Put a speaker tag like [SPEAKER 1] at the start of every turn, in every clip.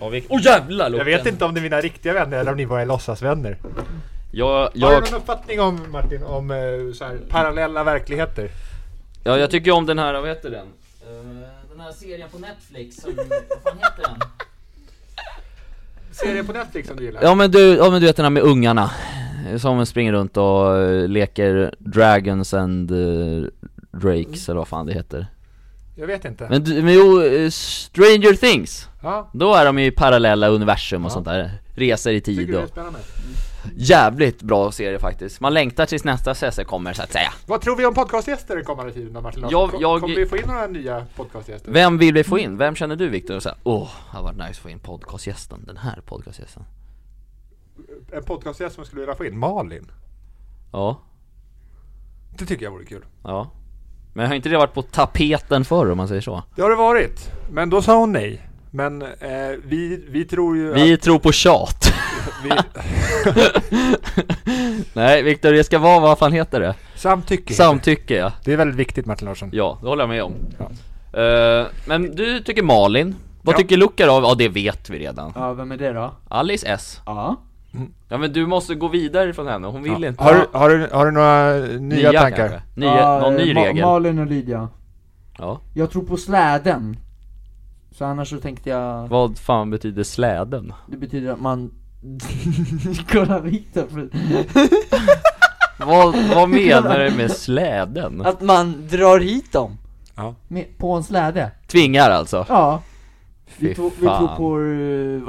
[SPEAKER 1] Åh oh, jävlar
[SPEAKER 2] Jag
[SPEAKER 1] Loke!
[SPEAKER 2] vet inte om det är mina riktiga vänner eller om ni bara är låtsasvänner.
[SPEAKER 1] Jag,
[SPEAKER 2] Har du
[SPEAKER 1] jag,
[SPEAKER 2] någon uppfattning om Martin, om eh, så här, parallella verkligheter?
[SPEAKER 1] ja, jag tycker om den här, vad heter den?
[SPEAKER 3] Eh, Den här serien på Netflix som, vad fan heter den?
[SPEAKER 2] Serier på Netflix som du gillar?
[SPEAKER 1] Ja men du, ja, men du vet den här med ungarna eh, Som springer runt och eh, leker Dragons and eh, Drakes eller vad fan det heter
[SPEAKER 2] Jag vet inte.
[SPEAKER 1] Men, du- men jo, eh, Stranger Things!
[SPEAKER 2] ja,
[SPEAKER 1] Då är de ju i parallella universum och
[SPEAKER 2] Ja.
[SPEAKER 1] sånt där Reser i
[SPEAKER 2] tycker
[SPEAKER 1] tid
[SPEAKER 2] du det är
[SPEAKER 1] och
[SPEAKER 2] spännande?
[SPEAKER 1] Jävligt bra serie faktiskt Man längtar tills nästa säsong kommer så att säga
[SPEAKER 2] Vad tror vi om podcastgäster den kommande tiden då Martin Larsson?
[SPEAKER 1] Jag-
[SPEAKER 2] Kom-
[SPEAKER 1] jag-
[SPEAKER 2] Kommer vi få in några nya podcastgäster?
[SPEAKER 1] Vem vill vi få in? Vem känner du Viktor? Och så här, Åh, det hade varit nice att få in podcastgästen, den här podcastgästen
[SPEAKER 2] En podcastgäst som skulle vilja få in? Malin?
[SPEAKER 1] Ja,
[SPEAKER 2] Det tycker jag vore kul.
[SPEAKER 1] ja Men har inte det varit på tapeten förr om man säger så?
[SPEAKER 2] Det har det varit. Men då sa hon nej. Men eh, vi, vi tror ju
[SPEAKER 1] Vi tror på tjat
[SPEAKER 2] att vi...
[SPEAKER 1] Nej Viktor, det ska vara, vad fan heter det?
[SPEAKER 2] Samtycke.
[SPEAKER 1] Samtycke ja,
[SPEAKER 2] det är väldigt viktigt Martin Larsson.
[SPEAKER 1] ja det håller jag med om
[SPEAKER 2] Ja.
[SPEAKER 1] Eh, Men du tycker Malin, vad
[SPEAKER 2] Ja.
[SPEAKER 1] tycker Luca då? Ja det vet vi redan
[SPEAKER 4] Ja, vem är det då?
[SPEAKER 1] Alice S
[SPEAKER 4] Ja.
[SPEAKER 1] Ja men du måste gå vidare från henne, hon vill inte
[SPEAKER 2] Har, du- har, du, har du några nya,
[SPEAKER 1] Nya
[SPEAKER 2] tankar?
[SPEAKER 1] kanske? Nya, någon ny
[SPEAKER 4] eh, Ma-
[SPEAKER 1] regel?
[SPEAKER 4] Malin och Lydia.
[SPEAKER 1] ja.
[SPEAKER 4] Jag tror på släden. Så annars så tänkte jag,
[SPEAKER 1] Vad fan betyder släden?
[SPEAKER 4] det betyder att man... Kolla Viktor, för-
[SPEAKER 1] vad, vad menar du med släden?
[SPEAKER 2] Alltså-
[SPEAKER 4] att man drar hit dem.
[SPEAKER 2] Ja.
[SPEAKER 4] Med, på en släde.
[SPEAKER 1] Tvingar alltså?
[SPEAKER 4] Ja.
[SPEAKER 1] Fy
[SPEAKER 4] Vi, tror- vi tror
[SPEAKER 1] fan.
[SPEAKER 4] på,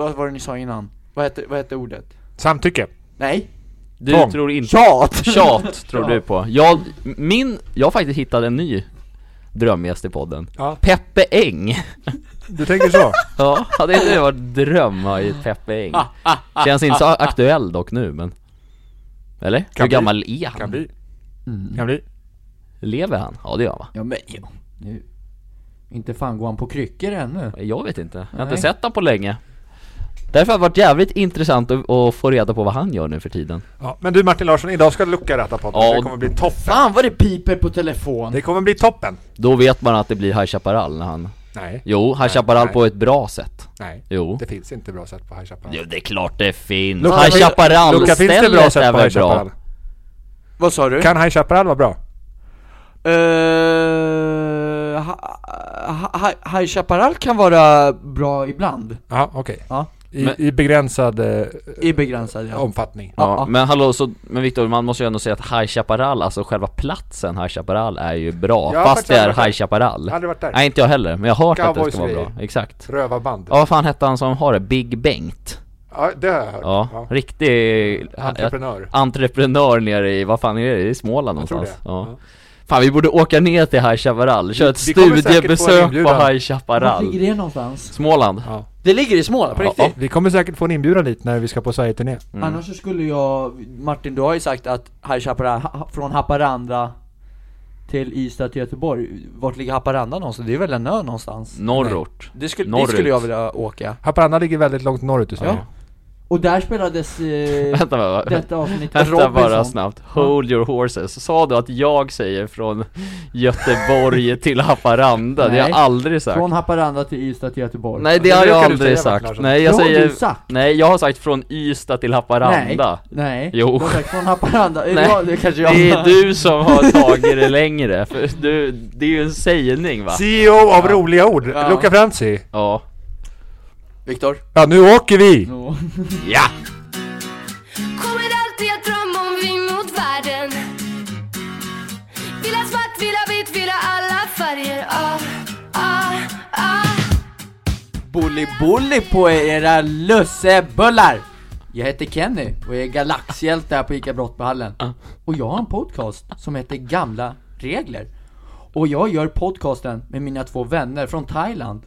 [SPEAKER 4] eh, vad var det ni sa innan? Vad hette, vad hette ordet?
[SPEAKER 2] Samtycke.
[SPEAKER 4] Nej,
[SPEAKER 1] Du
[SPEAKER 2] Tom.
[SPEAKER 1] tror inte...
[SPEAKER 4] tjat!
[SPEAKER 1] Tjat tror du på. Jag, min, jag har faktiskt hittat en ny drömgäst i podden.
[SPEAKER 2] Ja.
[SPEAKER 1] Peppe Eng.
[SPEAKER 2] Du tänker så?
[SPEAKER 1] Ja, hade inte det varit dröm att ha hit Peppe
[SPEAKER 2] Ah,
[SPEAKER 1] Eng? Känns inte så aktuell dock nu men... Eller? Hur
[SPEAKER 2] Kan bli.
[SPEAKER 1] gammal är han?
[SPEAKER 2] kan bli.
[SPEAKER 1] Mm.
[SPEAKER 2] Kan bli.
[SPEAKER 1] Lever han? Ja det gör han va?
[SPEAKER 4] Ja men jo. Nu. Inte fan går han på kryckor ännu.
[SPEAKER 1] Jag vet inte, jag har inte
[SPEAKER 4] Nej.
[SPEAKER 1] sett honom på länge Därför har det varit jävligt intressant att, att få reda på vad han gör nu för tiden
[SPEAKER 2] Ja, men du Martin Larsson, idag ska Luca rätta på
[SPEAKER 1] Ja.
[SPEAKER 2] ja. Det kommer bli toppen.
[SPEAKER 4] Fan vad det piper på telefon!
[SPEAKER 2] Det kommer bli toppen.
[SPEAKER 1] Då vet man att det blir High Chaparral när han
[SPEAKER 2] Nej,
[SPEAKER 1] Jo, High Chaparral
[SPEAKER 2] nej.
[SPEAKER 1] på ett bra sätt
[SPEAKER 2] nej.
[SPEAKER 1] Jo
[SPEAKER 2] Det finns inte bra sätt på High Chaparral.
[SPEAKER 1] Jo det är klart det finns,
[SPEAKER 2] Luca,
[SPEAKER 1] High
[SPEAKER 2] finns-
[SPEAKER 1] Chaparral
[SPEAKER 2] Luca, finns det bra
[SPEAKER 1] stället är
[SPEAKER 2] sätt på
[SPEAKER 1] väl
[SPEAKER 2] High
[SPEAKER 1] bra?
[SPEAKER 2] Chaparral?
[SPEAKER 4] Vad sa du?
[SPEAKER 2] Kan High Chaparral vara bra?
[SPEAKER 4] Eh, ha, ha, ha- High Chaparral kan vara bra ibland.
[SPEAKER 2] Ja, okej.
[SPEAKER 4] Ja.
[SPEAKER 2] I,
[SPEAKER 1] Men-
[SPEAKER 2] I begränsad eh,
[SPEAKER 4] I begränsad ja.
[SPEAKER 2] omfattning.
[SPEAKER 4] Ja,
[SPEAKER 1] Ja,
[SPEAKER 4] ja.
[SPEAKER 1] men hallå så, men Viktor man måste ju ändå säga att High Chaparral, alltså själva platsen High Chaparral är ju bra,
[SPEAKER 2] Jag har
[SPEAKER 1] fast
[SPEAKER 2] faktiskt
[SPEAKER 1] det är
[SPEAKER 2] aldrig varit
[SPEAKER 1] High Chaparral
[SPEAKER 2] Jag har aldrig varit där.
[SPEAKER 1] Nej inte jag heller, men jag har hört att det ska vara
[SPEAKER 2] Cowboys
[SPEAKER 1] bra, exakt
[SPEAKER 2] Rövarband.
[SPEAKER 1] Ja vad fan hette han som har det? Big Bengt?
[SPEAKER 2] Ja, det har jag hört.
[SPEAKER 1] Ja,
[SPEAKER 2] Ja.
[SPEAKER 1] riktig
[SPEAKER 2] Entreprenör.
[SPEAKER 1] entreprenör nere i, vad fan är det? I Småland
[SPEAKER 2] Jag tror
[SPEAKER 1] någonstans?
[SPEAKER 2] det.
[SPEAKER 1] Ja. Fan vi borde åka ner till High Chaparral, köra ett
[SPEAKER 2] vi kommer säkert få en
[SPEAKER 1] studiebesök på
[SPEAKER 2] inbjudan.
[SPEAKER 1] High
[SPEAKER 4] Var
[SPEAKER 1] Chaparral
[SPEAKER 4] ligger det någonstans?
[SPEAKER 1] Småland?
[SPEAKER 2] Ja.
[SPEAKER 4] Det ligger i Småland, på
[SPEAKER 1] Ja,
[SPEAKER 4] riktigt?
[SPEAKER 1] ja.
[SPEAKER 2] Vi kommer säkert få en inbjudan dit när vi ska på Sverige-turné.
[SPEAKER 4] Annars så skulle jag, Martin du har ju sagt att High Chaparral, ha, från Haparanda till Ystad till Göteborg, vart ligger Haparanda någonstans? Det är väl en ö någonstans?
[SPEAKER 1] Norrort?
[SPEAKER 4] Det skulle,
[SPEAKER 1] Norrut.
[SPEAKER 4] det skulle jag vilja åka
[SPEAKER 2] Haparanda ligger väldigt långt norrut i Sverige.
[SPEAKER 4] Ja. Och där spelades eh,
[SPEAKER 1] Vänta bara,
[SPEAKER 4] detta avsnitt
[SPEAKER 1] vänta
[SPEAKER 4] Robinson
[SPEAKER 1] bara snabbt, hold your horses Sa du att jag säger från Göteborg till Haparanda? Det har jag
[SPEAKER 4] Nej.
[SPEAKER 1] aldrig sagt
[SPEAKER 4] Från Haparanda till Ystad till Göteborg
[SPEAKER 1] Nej det
[SPEAKER 2] Det
[SPEAKER 1] har jag
[SPEAKER 2] brukar du
[SPEAKER 1] aldrig
[SPEAKER 2] säga,
[SPEAKER 1] sagt,
[SPEAKER 2] Larsson.
[SPEAKER 1] nej jag
[SPEAKER 4] Det har
[SPEAKER 1] säger
[SPEAKER 4] du sagt.
[SPEAKER 1] Nej jag har sagt från Ystad till
[SPEAKER 4] Nej,
[SPEAKER 1] Haparanda
[SPEAKER 4] nej,
[SPEAKER 1] Jo.
[SPEAKER 4] Du har sagt från Haparanda,
[SPEAKER 1] Nej,
[SPEAKER 4] Nej. Ja, det kanske jag
[SPEAKER 1] Det är du som har tagit det längre, för du, det är ju en sägning va?
[SPEAKER 2] CEO E av roliga ord,
[SPEAKER 4] Ja.
[SPEAKER 2] Luca Franzi.
[SPEAKER 1] Ja
[SPEAKER 4] Viktor
[SPEAKER 2] Ja, nu åker vi!
[SPEAKER 4] no.
[SPEAKER 1] Ja!
[SPEAKER 5] Kommer alltid att drömma om vi mot världen Vill ha svart, vill ha vitt, vill ha alla färger ah, ah, ah.
[SPEAKER 4] Bully bully på era lussebullar! Jag heter Kenny och jag är galaxhjälte här på ICA Brottbyhallen Och jag har en podcast som heter Gamla Regler Och jag gör podcasten med mina två vänner från Thailand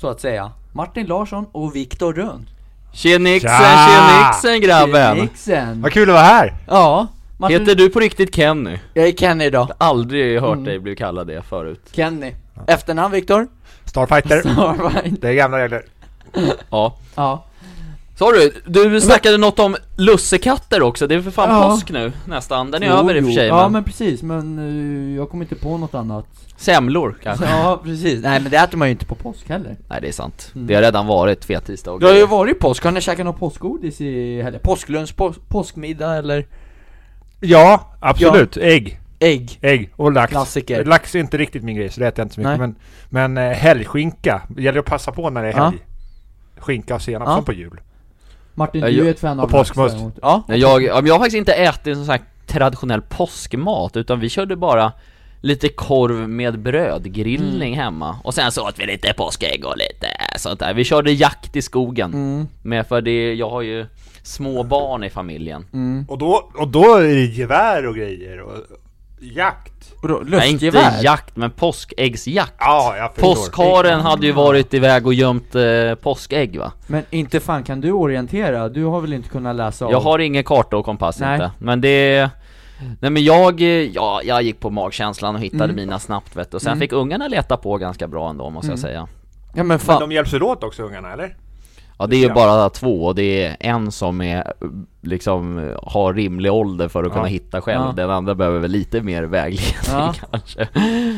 [SPEAKER 4] Så att säga Martin Larsson och Viktor Rönn
[SPEAKER 1] Tjenixen,
[SPEAKER 2] Tja!
[SPEAKER 1] tjenixen grabben!
[SPEAKER 4] Nixen.
[SPEAKER 2] Vad kul att vara här!
[SPEAKER 4] Ja, Martin,
[SPEAKER 1] Heter du på riktigt Kenny?
[SPEAKER 4] jag är Kenny då
[SPEAKER 1] Aldrig hört
[SPEAKER 4] Mm.
[SPEAKER 1] dig bli kallad det förut
[SPEAKER 4] Kenny Efternamn Viktor?
[SPEAKER 2] Starfighter,
[SPEAKER 4] Alright
[SPEAKER 2] det är gamla regler.
[SPEAKER 1] Ja
[SPEAKER 4] Ja,
[SPEAKER 1] Så Sorry, du snackade något om lussekatter också, det är för fan
[SPEAKER 4] Ja.
[SPEAKER 1] påsk nu nästan, den är
[SPEAKER 4] Jo,
[SPEAKER 1] över i och
[SPEAKER 4] jo.
[SPEAKER 1] för sig
[SPEAKER 4] Ja
[SPEAKER 1] men...
[SPEAKER 4] men precis, men eh, jag kommer inte på något annat
[SPEAKER 1] Semlor kanske?
[SPEAKER 4] Ja precis, nej men det äter man ju inte på påsk heller
[SPEAKER 1] Nej det är sant,
[SPEAKER 4] Mm.
[SPEAKER 1] det har redan varit fettisdag och
[SPEAKER 4] Det har ju
[SPEAKER 1] grejer.
[SPEAKER 4] varit påsk, har ni käkat något påskgodis i helgen? Påsklunch, pås påskmiddag eller?
[SPEAKER 2] Ja, absolut. Ägg.
[SPEAKER 4] Ägg
[SPEAKER 2] Ägg och lax.
[SPEAKER 4] Klassiker.
[SPEAKER 2] Lax är inte riktigt min grej, så det äter jag inte så mycket.
[SPEAKER 4] Nej.
[SPEAKER 2] Men, men eh, helgskinka. Det gäller att passa på när det är
[SPEAKER 4] Ja.
[SPEAKER 2] helg. Skinka och senap
[SPEAKER 4] Ja.
[SPEAKER 2] som på jul.
[SPEAKER 4] Martin,
[SPEAKER 1] Ja,
[SPEAKER 4] du
[SPEAKER 1] jag-
[SPEAKER 4] är ett fan av
[SPEAKER 2] och påskmust.
[SPEAKER 4] lax däremot. Ja,
[SPEAKER 1] Nej, jag, ja, men jag har faktiskt inte ätit sån här traditionell påskmat, utan vi körde bara lite korv med bröd, grillning
[SPEAKER 4] Mm.
[SPEAKER 1] hemma Och sen så åt vi lite påskägg och lite sånt där, vi körde jakt i skogen
[SPEAKER 4] Mm.
[SPEAKER 1] Men för det, jag har ju små barn i familjen
[SPEAKER 4] mm.
[SPEAKER 2] Och då, och då är det gevär och grejer och jakt.
[SPEAKER 4] Och då,
[SPEAKER 1] Nej inte
[SPEAKER 4] luftgevär?
[SPEAKER 1] jakt, men påskäggsjakt
[SPEAKER 2] Ja, jag förstår.
[SPEAKER 1] Påskharen hade ju varit iväg och gömt eh, påskägg va?
[SPEAKER 4] Men inte fan kan du orientera? Du har väl inte kunnat läsa av?
[SPEAKER 1] Jag har ingen karta och kompass
[SPEAKER 4] Nej.
[SPEAKER 1] inte, men det... Nej men jag, eh, ja, jag gick på magkänslan och hittade
[SPEAKER 4] Mm.
[SPEAKER 1] mina snabbt vet du. och sen fick ungarna leta på ganska bra ändå måste
[SPEAKER 4] Mm.
[SPEAKER 1] jag säga
[SPEAKER 4] Ja men
[SPEAKER 2] Men
[SPEAKER 4] fan,
[SPEAKER 2] de hjälps väl åt också ungarna, eller?
[SPEAKER 1] Ja det är ju bara två och det är en som är liksom har rimlig ålder för att kunna hitta själv,
[SPEAKER 4] Ja.
[SPEAKER 1] den andra behöver väl lite mer vägledning
[SPEAKER 4] Ja.
[SPEAKER 1] kanske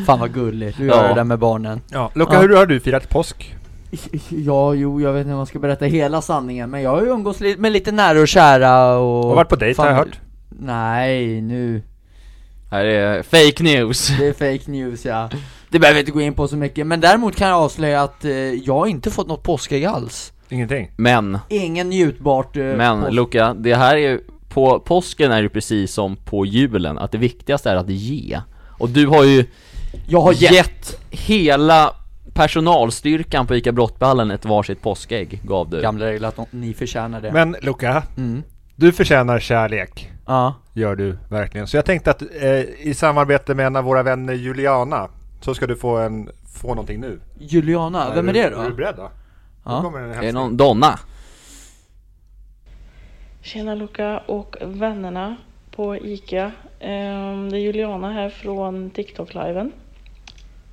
[SPEAKER 4] fan vad gulligt, du
[SPEAKER 1] Ja.
[SPEAKER 4] gör det där med barnen
[SPEAKER 2] Ja. Luca,
[SPEAKER 4] Ja.
[SPEAKER 2] hur har du firat påsk?
[SPEAKER 4] Ja, jo, jag vet inte om man ska berätta hela sanningen, men jag har ju umgås li- med lite nära och kära och...
[SPEAKER 2] Jag har varit på dejt har jag
[SPEAKER 4] Fan,
[SPEAKER 2] hört.
[SPEAKER 4] Nej, nu.
[SPEAKER 1] Här är fake news
[SPEAKER 4] Det är fake news ja. Det behöver vi inte gå in på så mycket, men däremot kan jag avslöja att eh, jag har inte fått något påskägg alls.
[SPEAKER 2] Ingenting.
[SPEAKER 1] Men,
[SPEAKER 4] Ingen njutbart eh,
[SPEAKER 1] men
[SPEAKER 4] påsk-
[SPEAKER 1] Luca, det här är ju, på påsken är det precis som på julen, att det viktigaste är att ge Och du har ju
[SPEAKER 4] Jag har gett.
[SPEAKER 1] gett hela personalstyrkan på ICA Brottballen ett varsitt påskägg, gav du
[SPEAKER 4] Gamla regler att de- ni förtjänar det.
[SPEAKER 2] Men Luca,
[SPEAKER 4] Mm.
[SPEAKER 2] du förtjänar kärlek.
[SPEAKER 4] Ja.
[SPEAKER 2] Gör du verkligen. Så jag tänkte att eh, i samarbete med en av våra vänner Juliana så ska du få, en, få någonting nu.
[SPEAKER 4] Juliana, vem är
[SPEAKER 2] du-
[SPEAKER 4] det
[SPEAKER 2] Är du
[SPEAKER 4] då?
[SPEAKER 2] beredd då?
[SPEAKER 4] Ja.
[SPEAKER 2] Då kommer en
[SPEAKER 1] Är det
[SPEAKER 2] hälsning.
[SPEAKER 1] någon Donna?
[SPEAKER 6] Tjena Luca och vännerna på ICA. Ehm, Det är Juliana här från TikTok-liven.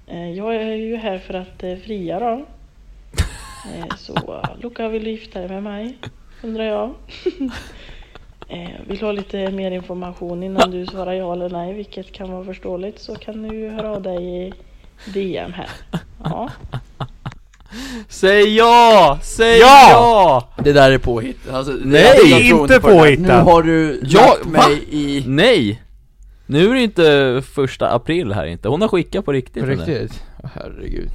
[SPEAKER 6] Eh, Jag är ju här för att eh, fria då. Eh, Så eh, Luca, vill du gifta dig med mig? Undrar jag. Eh, Vill du ha lite mer information innan du svarar ja eller nej, vilket kan vara förståeligt, så kan du ju höra av dig i DM här. Ja.
[SPEAKER 1] Säg ja! Säg
[SPEAKER 2] Ja!
[SPEAKER 1] ja!
[SPEAKER 4] Det där är påhitt. Alltså, det-
[SPEAKER 1] Nej,
[SPEAKER 4] jag tror
[SPEAKER 2] inte
[SPEAKER 4] på det där.
[SPEAKER 2] påhittat.
[SPEAKER 4] Nu har du
[SPEAKER 1] Ja,
[SPEAKER 4] lagt
[SPEAKER 1] va?
[SPEAKER 4] mig i...
[SPEAKER 1] Nej! Nu är det inte första april här inte, hon har skickat på riktigt, den där.
[SPEAKER 4] Herregud.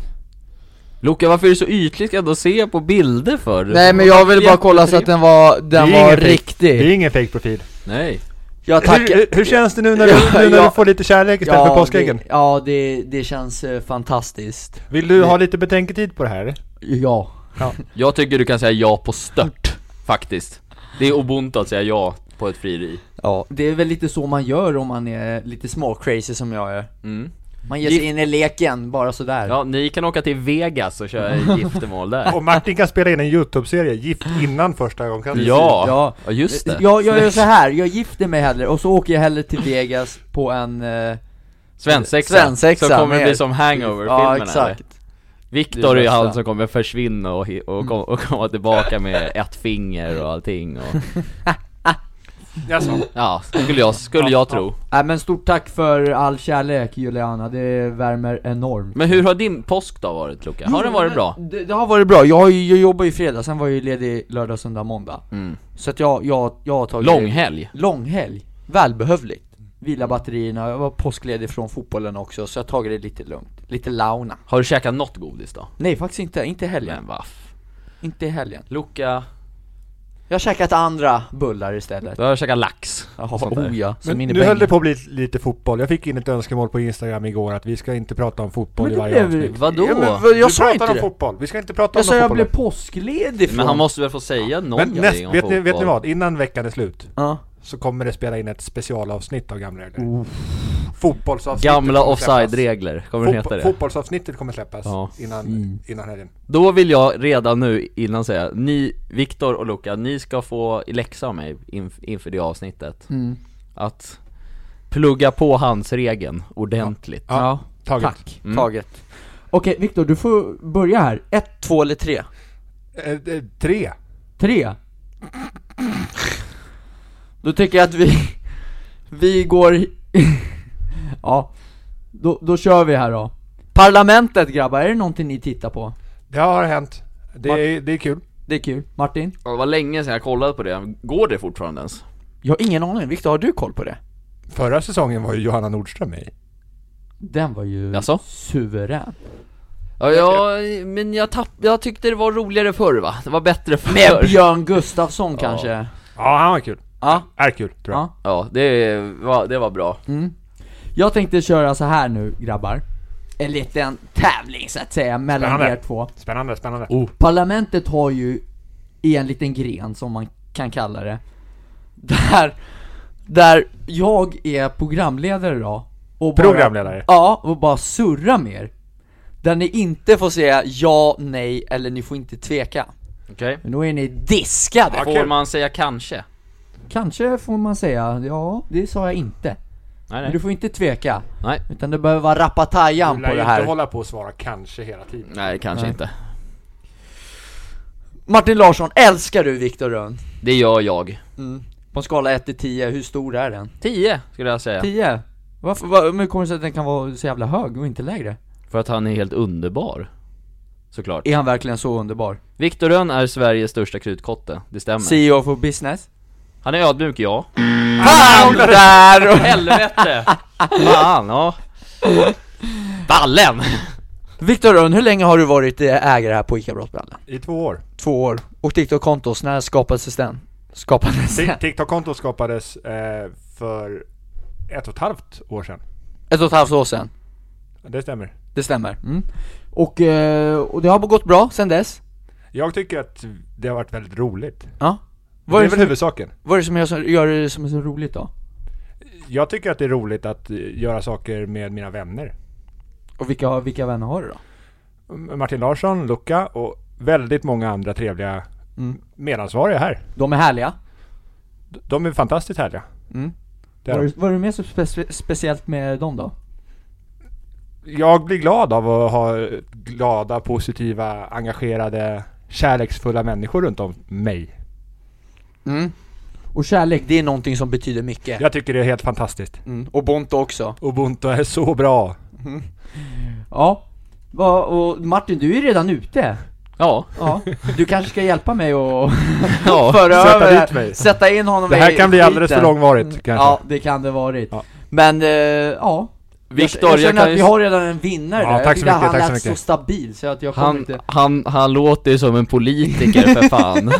[SPEAKER 1] Luca varför är du så ytlig? Ska jag då se på bilder för?
[SPEAKER 4] Nej men jag ville bara kolla så att den var,
[SPEAKER 2] Det är
[SPEAKER 4] den
[SPEAKER 2] ingen
[SPEAKER 4] var
[SPEAKER 2] fake- Det är
[SPEAKER 4] riktig
[SPEAKER 2] ingen fake profil.
[SPEAKER 1] Nej
[SPEAKER 4] Jag
[SPEAKER 2] Hur, hur, hur känns det nu när du,
[SPEAKER 4] Ja,
[SPEAKER 2] nu när
[SPEAKER 4] ja.
[SPEAKER 2] du får lite kärlek istället för påskäggen?
[SPEAKER 4] det, ja det, det känns eh, fantastiskt
[SPEAKER 2] Vill du ha lite betänketid på det här?
[SPEAKER 4] Ja
[SPEAKER 1] Jag tycker du kan säga ja på stört, faktiskt Det är obont att säga ja på ett frieri
[SPEAKER 4] Ja, det är väl lite så man gör om man är lite småcrazy som jag är
[SPEAKER 1] mm.
[SPEAKER 4] Man ger sig in i leken, bara sådär
[SPEAKER 1] Ja, ni kan åka till Vegas och köra giftermål där
[SPEAKER 2] Och Martin kan spela in en YouTube-serie, Gift innan första gången.
[SPEAKER 1] Ja, ja just det
[SPEAKER 4] Jag, jag gör så här, jag gifter mig hellre och så åker jag hellre till Vegas på en... eh,
[SPEAKER 1] Svensexa,
[SPEAKER 4] Svensexa
[SPEAKER 1] som kommer
[SPEAKER 4] med
[SPEAKER 1] det bli
[SPEAKER 4] er.
[SPEAKER 1] som hangover-filmen
[SPEAKER 4] Ja
[SPEAKER 1] eller?
[SPEAKER 4] exakt
[SPEAKER 1] Viktor
[SPEAKER 4] Det är
[SPEAKER 1] är ju han
[SPEAKER 4] bästa.
[SPEAKER 1] som kommer försvinna och, hi- och, kom, och komma tillbaka med ett finger och allting och,
[SPEAKER 2] Jaså?
[SPEAKER 1] Ja, skulle jag, skulle jag tro
[SPEAKER 4] Nej men stort tack för all kärlek Juliana, det värmer enormt
[SPEAKER 1] Men hur har din påsk då varit Luca? Mm. Har den varit bra?
[SPEAKER 4] Det, det har varit bra, jag, har ju- jag jobbar ju fredag, sen var jag ju ledig lördag, söndag, måndag
[SPEAKER 1] Mm.
[SPEAKER 4] Så att jag, jag, jag har tagit
[SPEAKER 1] Långhelg?
[SPEAKER 4] Långhelg, välbehövligt Vila batterierna, jag var påskledig från fotbollen också så jag har tagit det lite lugnt, lite launa
[SPEAKER 1] Har du käkat något godis då?
[SPEAKER 4] Nej faktiskt inte, inte i helgen,
[SPEAKER 1] Men vaff
[SPEAKER 4] inte i helgen
[SPEAKER 1] Luca,
[SPEAKER 4] Jag har käkat andra bullar istället
[SPEAKER 1] du har käkat lax
[SPEAKER 4] Jaha,
[SPEAKER 1] sånt där.
[SPEAKER 4] oh ja, som
[SPEAKER 2] Men
[SPEAKER 4] inne
[SPEAKER 2] nu höll det
[SPEAKER 4] bängen.
[SPEAKER 2] på att bli lite fotboll. Jag fick in ett önskemål på Instagram igår att vi ska inte prata om fotboll i
[SPEAKER 4] Men det
[SPEAKER 2] varje
[SPEAKER 4] blev-
[SPEAKER 2] avsnitt.
[SPEAKER 1] Vadå?
[SPEAKER 4] Ja, men vad- jag
[SPEAKER 2] du
[SPEAKER 4] sa
[SPEAKER 2] pratar
[SPEAKER 4] inte
[SPEAKER 2] om
[SPEAKER 4] det!
[SPEAKER 2] fotboll. Vi ska inte prata
[SPEAKER 4] Jag
[SPEAKER 2] om
[SPEAKER 4] sa jag
[SPEAKER 2] fotboll.
[SPEAKER 4] blev påskledig från
[SPEAKER 1] Men han måste väl få säga
[SPEAKER 2] Men
[SPEAKER 1] någonting
[SPEAKER 2] näst,
[SPEAKER 1] om
[SPEAKER 2] vet, ni, vet ni
[SPEAKER 1] fotboll?
[SPEAKER 2] vad? Innan veckan är slut
[SPEAKER 4] ja.
[SPEAKER 2] så kommer det spela in ett specialavsnitt av Gamla Regler. Fotbollsavsnittet
[SPEAKER 1] Gamla
[SPEAKER 2] kommer släppas.
[SPEAKER 1] offside-regler, kommer den
[SPEAKER 2] Fotbo-
[SPEAKER 1] heta det?
[SPEAKER 2] Fotbollsavsnittet kommer släppas
[SPEAKER 1] Ja.
[SPEAKER 2] innan, innan helgen.
[SPEAKER 1] Då vill jag redan nu innan säga, ni, Viktor och Luca, ni ska få i läxa av mig inf- inför det avsnittet
[SPEAKER 4] Mm.
[SPEAKER 1] Att plugga på handsregeln ordentligt
[SPEAKER 2] Ja.
[SPEAKER 4] Ja,
[SPEAKER 2] Taget. Mm.
[SPEAKER 4] tack, taget Okej Viktor, du får börja här, ett, två eller tre?
[SPEAKER 2] Eh, eh, tre.
[SPEAKER 4] Tre? Då tycker jag att vi, vi går, ja, då, då kör vi här då Parlamentet grabbar, är det någonting ni tittar på?
[SPEAKER 2] Det har hänt. Det är, det är kul.
[SPEAKER 4] Det är kul, Martin?
[SPEAKER 1] Ja, Det var länge sedan jag kollade på det, går det fortfarande ens?
[SPEAKER 4] Jag har ingen aning, Viktor har du koll på det?
[SPEAKER 2] Förra säsongen var ju Johanna Nordström med i.
[SPEAKER 4] Den var ju
[SPEAKER 1] Jaså?
[SPEAKER 4] suverän
[SPEAKER 1] Ja, ja men jag, tapp, jag tyckte det var roligare förr va? Det var bättre
[SPEAKER 4] Med
[SPEAKER 1] förr
[SPEAKER 4] Björn Gustafsson kanske?
[SPEAKER 2] Ja, han var kul.
[SPEAKER 4] Ja,
[SPEAKER 2] Är kul, tror jag.
[SPEAKER 4] ja
[SPEAKER 1] Ja, det var, det var bra
[SPEAKER 4] Jag tänkte köra så här nu grabbar En liten tävling så att säga mellan
[SPEAKER 2] Spännande.
[SPEAKER 4] er två
[SPEAKER 2] Spännande, spännande.
[SPEAKER 4] Oh, Parlamentet har ju en liten gren som man kan kalla det Där, där jag är programledare då och bara,
[SPEAKER 2] Programledare?
[SPEAKER 4] Ja, och bara surra med er Där ni inte får säga ja, nej eller ni får inte tveka
[SPEAKER 1] Okej
[SPEAKER 4] Men då är ni diskade!
[SPEAKER 1] Får
[SPEAKER 2] kul.
[SPEAKER 1] man säga kanske?
[SPEAKER 4] Kanske får man säga, ja det sa jag inte
[SPEAKER 1] Nej
[SPEAKER 4] Men
[SPEAKER 1] nej,
[SPEAKER 4] du får inte tveka
[SPEAKER 1] nej,
[SPEAKER 4] Utan det behöver vara rappatajan
[SPEAKER 2] Du
[SPEAKER 4] på
[SPEAKER 2] lär ju
[SPEAKER 4] det
[SPEAKER 2] inte
[SPEAKER 4] här
[SPEAKER 2] hålla på och svara kanske hela tiden.
[SPEAKER 1] nej kanske
[SPEAKER 4] Nej.
[SPEAKER 1] inte
[SPEAKER 4] Martin Larsson, älskar du Viktor Rönn?
[SPEAKER 1] Det gör jag
[SPEAKER 4] På en skala 1 till 10, hur stor är den?
[SPEAKER 1] 10 skulle jag säga
[SPEAKER 4] 10? Varför, var, men hur kommer det sig att den kan vara så jävla hög och inte lägre?
[SPEAKER 1] För att han är helt underbar Såklart
[SPEAKER 4] Är han verkligen så underbar?
[SPEAKER 1] Viktor Rönn är Sveriges största krutkotte, det stämmer
[SPEAKER 4] CEO for business?
[SPEAKER 1] Han är ödmjuk ja
[SPEAKER 4] Mm. Fan där! och-
[SPEAKER 1] Helvete! Fan, ja Ballen!
[SPEAKER 4] Viktor Rönn, hur länge har du varit eh, ägare här på ICA Brottbranden?
[SPEAKER 2] I två år.
[SPEAKER 4] Två år. Och TikTok-kontos, när skapades den? Skapades den?
[SPEAKER 2] Ti- TikTok-konto skapades eh, för ett och ett halvt år sedan.
[SPEAKER 4] Ett och ett halvt år sedan.
[SPEAKER 2] Det stämmer.
[SPEAKER 4] Det stämmer. Mm. Och, eh, och det har gått bra sedan dess?
[SPEAKER 2] Jag tycker att det har varit väldigt roligt.
[SPEAKER 4] Ja.
[SPEAKER 2] Det
[SPEAKER 4] Vad
[SPEAKER 2] är
[SPEAKER 4] är,
[SPEAKER 2] väl
[SPEAKER 4] det,
[SPEAKER 2] huvudsaken.
[SPEAKER 4] vad är det som gör, gör det som är så roligt då?
[SPEAKER 2] Jag tycker att det är roligt att eh, göra saker med mina vänner.
[SPEAKER 4] Och vilka, vilka vänner har du då?
[SPEAKER 2] Martin Larsson, Luca och väldigt många andra trevliga
[SPEAKER 4] Mm.
[SPEAKER 2] medansvariga här.
[SPEAKER 4] De är härliga.
[SPEAKER 2] D- De är fantastiskt härliga.
[SPEAKER 4] Mm.
[SPEAKER 2] Det är de.
[SPEAKER 4] vad är det mer så spe- speciellt med dem då?
[SPEAKER 2] Jag blir glad av att ha glada, positiva, engagerade, kärleksfulla människor runt om mig.
[SPEAKER 4] Mm. Och kärlek, det är någonting som betyder mycket.
[SPEAKER 2] Jag tycker det är helt fantastiskt.
[SPEAKER 4] Mm. Och Bonto också.
[SPEAKER 2] Ubuntu är så bra.
[SPEAKER 4] Ja. Va, och Martin, du är redan ute.
[SPEAKER 1] Ja,
[SPEAKER 4] Ja. Du kanske ska hjälpa mig och
[SPEAKER 1] ja
[SPEAKER 4] föra
[SPEAKER 2] sätta
[SPEAKER 4] över,
[SPEAKER 2] dit mig.
[SPEAKER 4] sätta in honom
[SPEAKER 2] Det
[SPEAKER 4] i
[SPEAKER 2] här kan bli alldeles för
[SPEAKER 4] skiten. Mm.
[SPEAKER 2] långvarigt kanske.
[SPEAKER 4] Ja, det kan det varit.
[SPEAKER 2] Ja.
[SPEAKER 4] Men, eh, ja.
[SPEAKER 1] Viktor,
[SPEAKER 4] jag, jag
[SPEAKER 1] jag
[SPEAKER 4] känner
[SPEAKER 1] kan
[SPEAKER 4] att
[SPEAKER 1] ju-
[SPEAKER 4] vi har redan en vinnare
[SPEAKER 2] Ja,
[SPEAKER 4] där. Jag
[SPEAKER 2] tack så
[SPEAKER 4] tyckte
[SPEAKER 2] mycket,
[SPEAKER 4] han
[SPEAKER 2] tack så
[SPEAKER 4] lät så
[SPEAKER 2] mycket.
[SPEAKER 4] stabil så att jag kommer
[SPEAKER 1] han,
[SPEAKER 4] inte...
[SPEAKER 1] han, han låter ju som en politiker för fan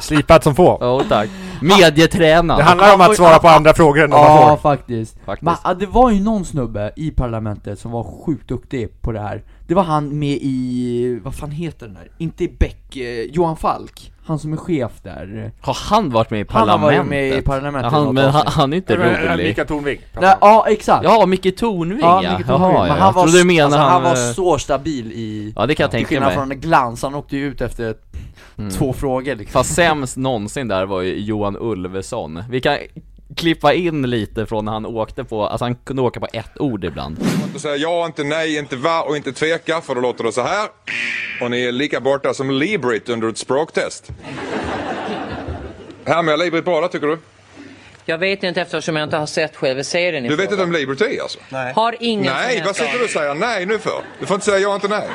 [SPEAKER 2] Slipat som få.
[SPEAKER 1] Ja tack Medietränad
[SPEAKER 2] Det handlar om att svara på andra frågor än de man
[SPEAKER 4] Ja,
[SPEAKER 2] får.
[SPEAKER 4] faktiskt.
[SPEAKER 1] Faktiskt.
[SPEAKER 4] Men, ah, det var ju någon snubbe i parlamentet som var sjukt duktig på det här Det var han med i, vad fan heter den där? Inte i Beck, eh, Johan Falk Han som är chef där
[SPEAKER 1] Har han varit med i
[SPEAKER 4] Han har
[SPEAKER 1] parlamentet?
[SPEAKER 4] varit med i parlamentet
[SPEAKER 1] Ja, han,
[SPEAKER 4] något
[SPEAKER 1] men han,
[SPEAKER 4] avsnitt.
[SPEAKER 1] han är inte rolig
[SPEAKER 2] Mikael Tornving.
[SPEAKER 4] Nej, ja exakt!
[SPEAKER 1] Ja, Micke Tornving ja,
[SPEAKER 4] Micke
[SPEAKER 1] Jaha,
[SPEAKER 4] Tornving.
[SPEAKER 1] ja,
[SPEAKER 4] Men
[SPEAKER 1] jag
[SPEAKER 4] han var,
[SPEAKER 1] trodde du menade
[SPEAKER 4] alltså, han,
[SPEAKER 1] han,
[SPEAKER 4] var
[SPEAKER 1] eh,
[SPEAKER 4] så stabil i,
[SPEAKER 1] Ja det kan jag
[SPEAKER 4] till
[SPEAKER 1] tänka
[SPEAKER 4] skillnad
[SPEAKER 1] mig
[SPEAKER 4] från Glans, han åkte ju ut efter
[SPEAKER 1] Mm.
[SPEAKER 4] två frågor liksom
[SPEAKER 1] Fast sämst någonsin där var ju Johan Ulveson Vi kan klippa in lite från när han åkte på, alltså han kunde åka på ett ord ibland
[SPEAKER 7] Då säger jag inte nej, inte va och inte tveka för då låter det så här. Och ni är lika borta som Librit under ett språktest. Härmar jag Librit bara tycker du?
[SPEAKER 8] Jag vet inte eftersom jag inte har sett själva serien i
[SPEAKER 7] Du vet
[SPEAKER 8] fråga.
[SPEAKER 7] inte om Librit är alltså?
[SPEAKER 8] Har ingen som
[SPEAKER 7] Nej,
[SPEAKER 8] helst
[SPEAKER 7] vad sitter du
[SPEAKER 8] aning.
[SPEAKER 7] och säger nej nu för? Du får inte säga ja inte nej.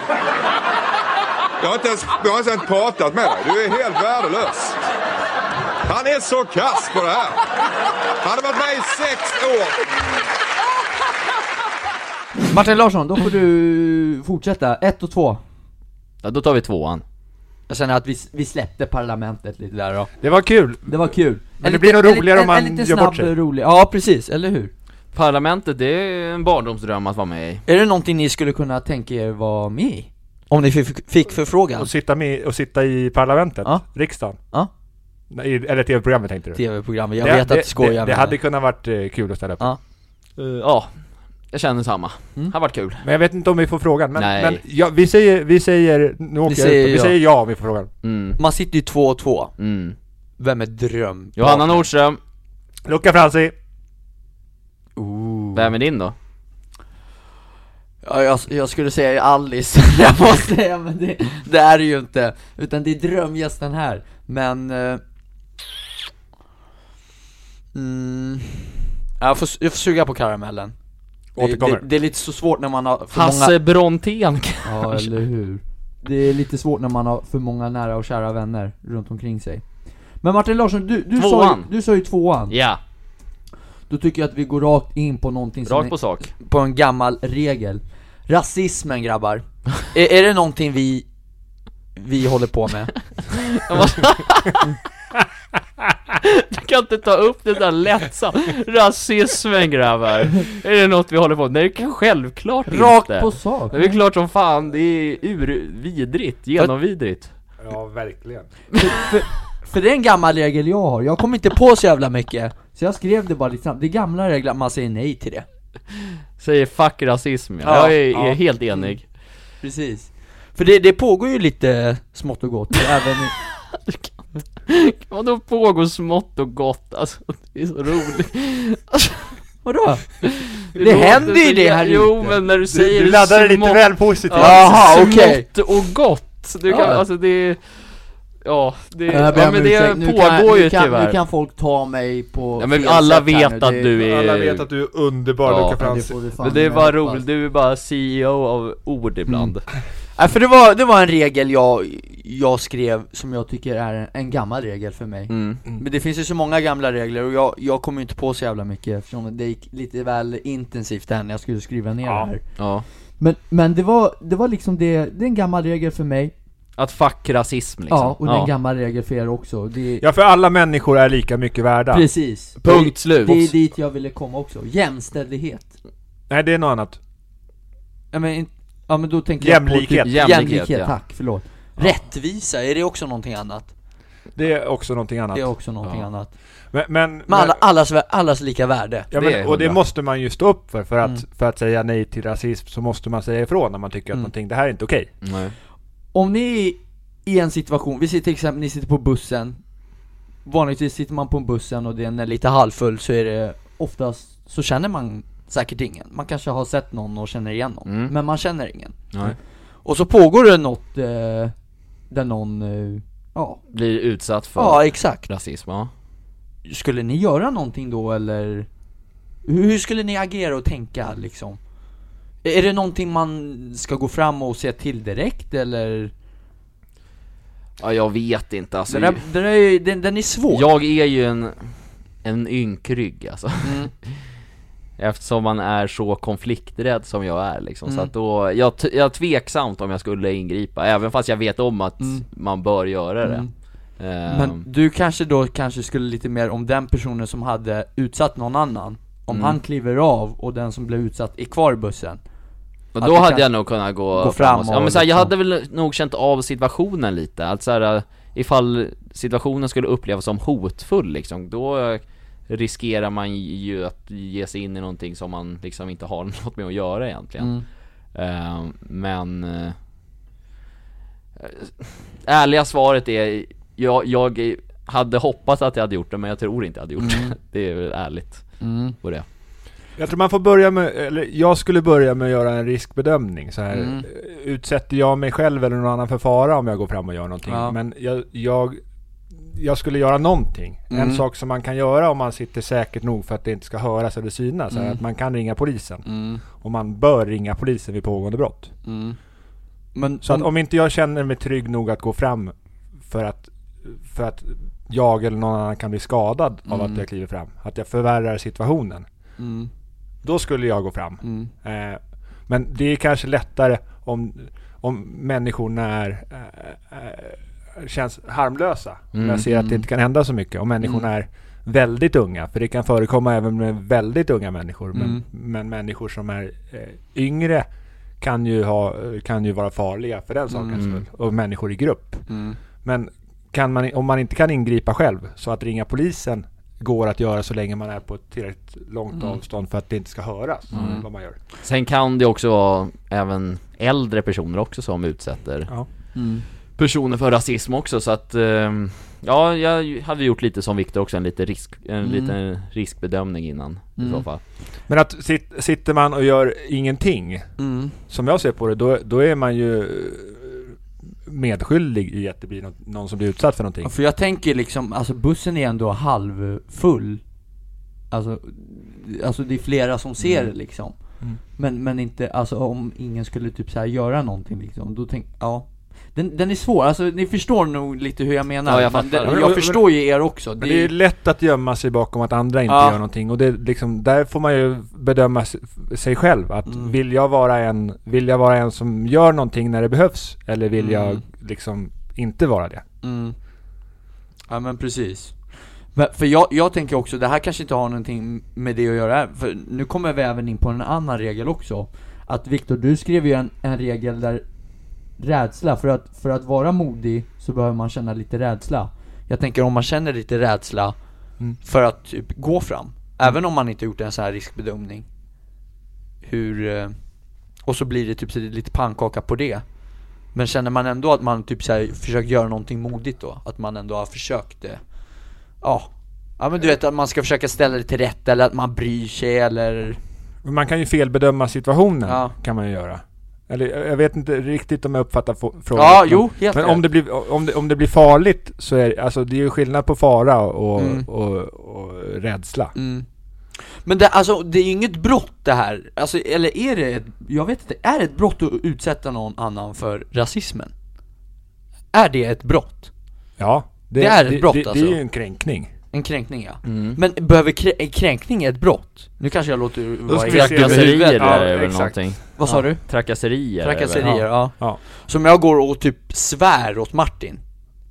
[SPEAKER 7] Jag har inte ens, jag har inte ens pratat med dig. Du är helt värdelös. Han är så kass på det här. Han har varit med i sex år.
[SPEAKER 4] Martin Larsson, då får du fortsätta, ett och två
[SPEAKER 1] Ja då tar vi tvåan
[SPEAKER 4] Jag känner att vi, vi släppte parlamentet lite där då
[SPEAKER 2] Det var kul.
[SPEAKER 4] Det var kul.
[SPEAKER 2] det blir nog roligare om man
[SPEAKER 4] en, en lite
[SPEAKER 2] gör bort
[SPEAKER 4] snabb,
[SPEAKER 2] sig.
[SPEAKER 4] Rolig. Ja, precis, eller hur?
[SPEAKER 1] Parlamentet, det är en barndomsdröm att vara med i
[SPEAKER 4] Är det någonting ni skulle kunna tänka er vara med i? Om ni fick, fick förfrågan?
[SPEAKER 2] Att sitta, med, och sitta i parlamentet,
[SPEAKER 4] Ja.
[SPEAKER 2] riksdagen.
[SPEAKER 4] Ja.
[SPEAKER 2] Nej, eller tv-programmet tänkte du?
[SPEAKER 4] Tv-programmet, jag vet att du skojar
[SPEAKER 2] det, det
[SPEAKER 4] med
[SPEAKER 2] hade
[SPEAKER 4] mig.
[SPEAKER 2] kunnat varit eh, kul att ställa upp.
[SPEAKER 4] Ja.
[SPEAKER 1] Eh, Ja, jag känner samma,
[SPEAKER 4] Mm.
[SPEAKER 1] det har varit kul
[SPEAKER 2] Men jag vet inte om vi får frågan. Men,
[SPEAKER 1] Nej.
[SPEAKER 2] men ja, vi säger, vi säger, nu åker jag
[SPEAKER 4] säger
[SPEAKER 2] ut, vi
[SPEAKER 4] ja.
[SPEAKER 2] säger ja om vi får frågan.
[SPEAKER 1] mm,
[SPEAKER 4] Man sitter ju två och två.
[SPEAKER 1] mm.
[SPEAKER 4] Vem är dröm?
[SPEAKER 1] Johanna Nordström,
[SPEAKER 2] Luca Franzi,
[SPEAKER 1] vem är din då?
[SPEAKER 4] Ja, jag, jag skulle säga Alice, jag måste säga, men det, det är det ju inte. Utan det är drömgästen här. Men... eh, Mm. Jag, får, jag får suga på karamellen det,
[SPEAKER 2] Återkommer.
[SPEAKER 4] det, det är lite så svårt när man har för
[SPEAKER 1] Hasse
[SPEAKER 4] många
[SPEAKER 1] Brontén
[SPEAKER 4] Ja eller hur Det är lite svårt när man har för många nära och kära vänner runt omkring sig Men Martin Larsson, du, du, sa, ju,
[SPEAKER 1] Tvåan.
[SPEAKER 4] du sa ju tvåan
[SPEAKER 1] Ja,
[SPEAKER 4] Då tycker jag att vi går rakt in på någonting som
[SPEAKER 1] rakt på sak
[SPEAKER 4] på en gammal regel Rasismen grabbar, är, är det någonting vi, vi håller på med?
[SPEAKER 1] Du kan inte ta upp det där lättsamt Rasismen grabbar Är det något vi håller på med? Nej, det är självklart inte
[SPEAKER 4] Rakt på sak!
[SPEAKER 1] Det är klart som fan, det är urvidrigt, genomvidrigt
[SPEAKER 2] Ja, verkligen.
[SPEAKER 4] För, för det är en gammal regel jag har, jag kom inte på så jävla mycket Så jag skrev det bara lite snabbt, det är gamla regler att man säger nej till det
[SPEAKER 1] Säger fuck rasism,
[SPEAKER 4] Ja,
[SPEAKER 1] jag är,
[SPEAKER 4] ja.
[SPEAKER 1] är helt enig
[SPEAKER 4] Precis För det, det pågår ju lite smått och gott även i,
[SPEAKER 1] Vadå pågår smått och gott alltså? Det är så roligt
[SPEAKER 4] Vadå? Det,
[SPEAKER 1] låter
[SPEAKER 4] händer ju
[SPEAKER 1] så
[SPEAKER 4] det
[SPEAKER 1] jä-
[SPEAKER 4] här
[SPEAKER 1] Jo
[SPEAKER 4] ute.
[SPEAKER 1] men när du
[SPEAKER 2] Du,
[SPEAKER 1] säger
[SPEAKER 2] du laddar det lite
[SPEAKER 1] smått- alltså,
[SPEAKER 2] väl positivt.
[SPEAKER 4] Jaha, okej.
[SPEAKER 1] Smått och gott, du kan,
[SPEAKER 4] Ja.
[SPEAKER 1] alltså det är Ja, det,
[SPEAKER 4] Jag ber
[SPEAKER 1] Eh, ja
[SPEAKER 4] om
[SPEAKER 1] men det
[SPEAKER 4] ursäkt. Nu
[SPEAKER 1] pågår
[SPEAKER 4] kan,
[SPEAKER 1] ju
[SPEAKER 4] nu kan,
[SPEAKER 1] tyvärr
[SPEAKER 4] Nu kan folk ta mig på
[SPEAKER 1] Ja men
[SPEAKER 4] fel
[SPEAKER 1] alla
[SPEAKER 4] sätt här
[SPEAKER 1] vet
[SPEAKER 4] nu.
[SPEAKER 1] att
[SPEAKER 4] Det-
[SPEAKER 1] du är...
[SPEAKER 2] Alla vet att du är underbar
[SPEAKER 1] Ja.
[SPEAKER 2] Luca
[SPEAKER 4] Ja, det
[SPEAKER 2] Franzén.
[SPEAKER 4] får du fan
[SPEAKER 1] Men det är
[SPEAKER 4] med
[SPEAKER 1] bara
[SPEAKER 4] hoppas. Mm.
[SPEAKER 1] roligt, du är bara CEO av ord ibland
[SPEAKER 4] Nej för det var, det var en regel jag, jag skrev som jag tycker är en, en gammal regel för mig
[SPEAKER 1] mm.
[SPEAKER 4] Men det finns ju så många gamla regler och jag, jag kommer ju inte på så jävla mycket eftersom det gick lite väl intensivt där när jag skulle skriva ner det här
[SPEAKER 1] Ja
[SPEAKER 4] Men, men det var, det var liksom det, det är en gammal regel för mig
[SPEAKER 1] Liksom. Att fuck rasism liksom
[SPEAKER 4] Ja, och det är en gammal regel för er också det,
[SPEAKER 2] Ja, för alla människor är lika mycket värda.
[SPEAKER 4] Precis
[SPEAKER 1] Punkt
[SPEAKER 4] Det-
[SPEAKER 1] slut.
[SPEAKER 4] Det är dit jag ville komma också, jämställdhet
[SPEAKER 2] Nej, det är något annat.
[SPEAKER 4] Ja men, in- ja, men då tänker jag
[SPEAKER 2] Jämlikhet.
[SPEAKER 4] på typ
[SPEAKER 1] Jämlikhet, ja.
[SPEAKER 4] tack, förlåt Rättvisa, är det också någonting annat?
[SPEAKER 2] Det är också någonting annat.
[SPEAKER 4] Det är också någonting
[SPEAKER 1] Ja.
[SPEAKER 4] annat
[SPEAKER 2] Men, men,
[SPEAKER 4] Men alla,
[SPEAKER 2] men,
[SPEAKER 4] allas, vä- allas lika värde
[SPEAKER 2] ja,
[SPEAKER 1] det är
[SPEAKER 2] men och det
[SPEAKER 1] hundra.
[SPEAKER 2] måste man ju stå upp för. För att,
[SPEAKER 4] Mm.
[SPEAKER 2] för att säga nej till rasism så måste man säga ifrån när man tycker att
[SPEAKER 4] Mm.
[SPEAKER 2] någonting, det här är inte okej.
[SPEAKER 1] Nej.
[SPEAKER 4] Om ni är i en situation, vi sitter till exempel, ni sitter på bussen Vanligtvis sitter man på en bussen och den är lite halvfull så är det oftast, så känner man säkert ingen Man kanske har sett någon och känner igen någon,
[SPEAKER 1] Mm.
[SPEAKER 4] men man känner ingen
[SPEAKER 1] Nej.
[SPEAKER 4] Och så pågår det något eh, där någon, eh, ja,
[SPEAKER 1] Blir utsatt för
[SPEAKER 4] ja exakt
[SPEAKER 1] rasism, ja
[SPEAKER 4] Skulle ni göra någonting då eller? Hur hur skulle ni agera och tänka liksom? Är det någonting man ska gå fram och säga till direkt eller?
[SPEAKER 1] Ja jag vet inte alltså
[SPEAKER 4] Den, där, den, där är, ju- den, den är svår
[SPEAKER 1] Jag är ju en, en ynkrygg alltså
[SPEAKER 4] Mm.
[SPEAKER 1] Eftersom man är så konflikträdd som jag är liksom, så
[SPEAKER 4] Mm.
[SPEAKER 1] att då, jag, t- jag är tveksamt om jag skulle ingripa, även fast jag vet om att
[SPEAKER 4] Mm.
[SPEAKER 1] man bör göra det
[SPEAKER 4] Mm.
[SPEAKER 1] Ehm,
[SPEAKER 4] Men du kanske då kanske skulle lite mer om den personen som hade utsatt någon annan Om
[SPEAKER 1] Mm.
[SPEAKER 4] han kliver av och den som blev utsatt är kvar i bussen
[SPEAKER 1] Och
[SPEAKER 4] Att
[SPEAKER 1] då
[SPEAKER 4] du
[SPEAKER 1] hade
[SPEAKER 4] kan
[SPEAKER 1] jag nog kunnat gå,
[SPEAKER 4] gå
[SPEAKER 1] fram
[SPEAKER 4] fram
[SPEAKER 1] och, Ja men
[SPEAKER 4] och
[SPEAKER 1] så här, jag hade
[SPEAKER 4] liksom-
[SPEAKER 1] väl nog känt av situationen lite, att så här, ifall situationen skulle upplevas som hotfull liksom, då riskerar man ju att ge sig in i någonting som man liksom inte har något med att göra egentligen
[SPEAKER 4] Mm.
[SPEAKER 1] Ehm, Men... eh, Ärliga svaret är, jag, jag hade hoppats att jag hade gjort det men jag tror inte jag hade gjort det Det är väl ärligt
[SPEAKER 4] Mm.
[SPEAKER 1] på det
[SPEAKER 2] Jag tror man får börja med, eller jag skulle börja med att göra en riskbedömning så här.
[SPEAKER 4] Mm.
[SPEAKER 2] Utsätter jag mig själv eller någon annan för fara om jag går fram och gör någonting?
[SPEAKER 4] Ja.
[SPEAKER 2] Men jag, jag, jag skulle göra någonting.
[SPEAKER 4] Mm.
[SPEAKER 2] En sak som man kan göra om man sitter säkert nog för att det inte ska höras eller synas är att man kan ringa polisen.
[SPEAKER 4] Mm.
[SPEAKER 2] Och man bör ringa polisen vid pågående brott.
[SPEAKER 4] Mm. Men
[SPEAKER 2] Så att
[SPEAKER 4] om,
[SPEAKER 2] om inte jag känner mig trygg nog att gå fram för att, för att jag eller någon annan kan bli skadad av att jag kliver fram, att jag förvärrar situationen.
[SPEAKER 4] mm.
[SPEAKER 2] Då skulle jag gå fram.
[SPEAKER 4] Mm.
[SPEAKER 2] Eh, men det är kanske lättare om, om människorna är, eh, eh, känns harmlösa. Om
[SPEAKER 4] Mm,
[SPEAKER 2] jag ser att det inte kan hända så mycket. Om människorna är väldigt unga. För det kan förekomma även med väldigt unga människor. Men,
[SPEAKER 4] Mm.
[SPEAKER 2] men människor som är eh, yngre kan ju, ha, eh, kan ju vara farliga för den sakens
[SPEAKER 1] Mm.
[SPEAKER 2] skull. Och människor i grupp.
[SPEAKER 4] Mm.
[SPEAKER 2] Men kan man, om man inte kan ingripa själv, så att ringa polisen går att göra så länge man är på ett tillräckligt långt
[SPEAKER 4] Mm.
[SPEAKER 2] avstånd för att det inte ska höras vad man gör.
[SPEAKER 1] Sen kan det också vara även äldre personer också som utsätter
[SPEAKER 2] Ja.
[SPEAKER 4] Mm.
[SPEAKER 1] personer för rasism också så att ehm, Ja, jag hade gjort lite som Viktor också, en, lite risk, en
[SPEAKER 4] Mm.
[SPEAKER 1] liten riskbedömning innan i så fall
[SPEAKER 2] Men att sit, sitter man och gör ingenting,
[SPEAKER 4] Mm.
[SPEAKER 2] som jag ser på det, då, då är man ju eh, medskyldig i att det blir något, någon som blir utsatt för någonting.
[SPEAKER 4] Ja, För jag tänker liksom, alltså bussen är ändå halvfull Alltså, alltså det är flera som ser det liksom
[SPEAKER 2] Mm.
[SPEAKER 4] men, men inte, alltså om ingen skulle typ så här göra någonting liksom, då tänk, ja den, den är svår, alltså ni förstår nog lite hur jag menar
[SPEAKER 1] Ja, jag
[SPEAKER 4] men
[SPEAKER 1] fattar.
[SPEAKER 4] den-
[SPEAKER 2] Men-
[SPEAKER 4] jag
[SPEAKER 2] men-
[SPEAKER 4] förstår ju er också
[SPEAKER 2] Men det är ju lätt att gömma sig bakom att andra inte
[SPEAKER 4] Ja.
[SPEAKER 2] gör någonting och det är liksom, där får man ju bedöma s- sig själv att
[SPEAKER 4] Mm.
[SPEAKER 2] vill jag vara en, vill jag vara en som gör någonting när det behövs eller vill jag
[SPEAKER 4] Mm.
[SPEAKER 2] liksom inte vara det?
[SPEAKER 4] Mm. Ja men precis. Men, för jag, jag tänker också, det här kanske inte har någonting med det att göra, för nu kommer vi även in på en annan regel också. Att Viktor, du skrev ju en, en regel där rädsla, för att, för att vara modig så behöver man känna lite rädsla. Jag tänker om man känner lite rädsla
[SPEAKER 2] Mm.
[SPEAKER 4] för att typ gå fram, även om man inte gjort en sån här riskbedömning. Hur, eh, och så blir det typ så det är lite pannkaka på det. Men känner man ändå att man typ så här försökt göra någonting modigt då? Att man ändå har försökt det? Ja. Ja men du vet att man ska försöka ställa det till rätt eller att man bryr sig eller...
[SPEAKER 2] Men Man kan ju felbedöma situationen,
[SPEAKER 4] Ja.
[SPEAKER 2] kan man ju göra. Eller jag jag vet inte riktigt om jag uppfattar fo- frågan.
[SPEAKER 4] Ja,
[SPEAKER 2] men,
[SPEAKER 4] jo, helt
[SPEAKER 2] Men
[SPEAKER 4] rätt.
[SPEAKER 2] om det, blir, om, det, om det blir farligt så är alltså det är ju skillnad på fara och,
[SPEAKER 4] Mm.
[SPEAKER 2] och, och rädsla.
[SPEAKER 4] Mm. Men det, alltså, det är ju inget brott det här, alltså, eller är det ett, jag vet inte, är det ett brott att utsätta någon annan för rasismen? Är det ett brott?
[SPEAKER 2] Ja,
[SPEAKER 4] Det är ett brott,
[SPEAKER 2] det,
[SPEAKER 4] alltså.
[SPEAKER 2] det är ju en kränkning.
[SPEAKER 4] En kränkning ja. Men behöver krä, en kränkning är ett brott? Nu kanske jag låter
[SPEAKER 2] ska
[SPEAKER 4] vara
[SPEAKER 2] vi se.
[SPEAKER 4] helt dum i
[SPEAKER 1] Trakasserier
[SPEAKER 4] huvudet.
[SPEAKER 2] Ja,
[SPEAKER 1] är det väl
[SPEAKER 2] exakt.
[SPEAKER 1] någonting?
[SPEAKER 4] Vad sa du?
[SPEAKER 1] Trakasserier är det väl?
[SPEAKER 4] Trakasserier, ja.
[SPEAKER 2] Ja.
[SPEAKER 4] Som jag går och typ svär åt Martin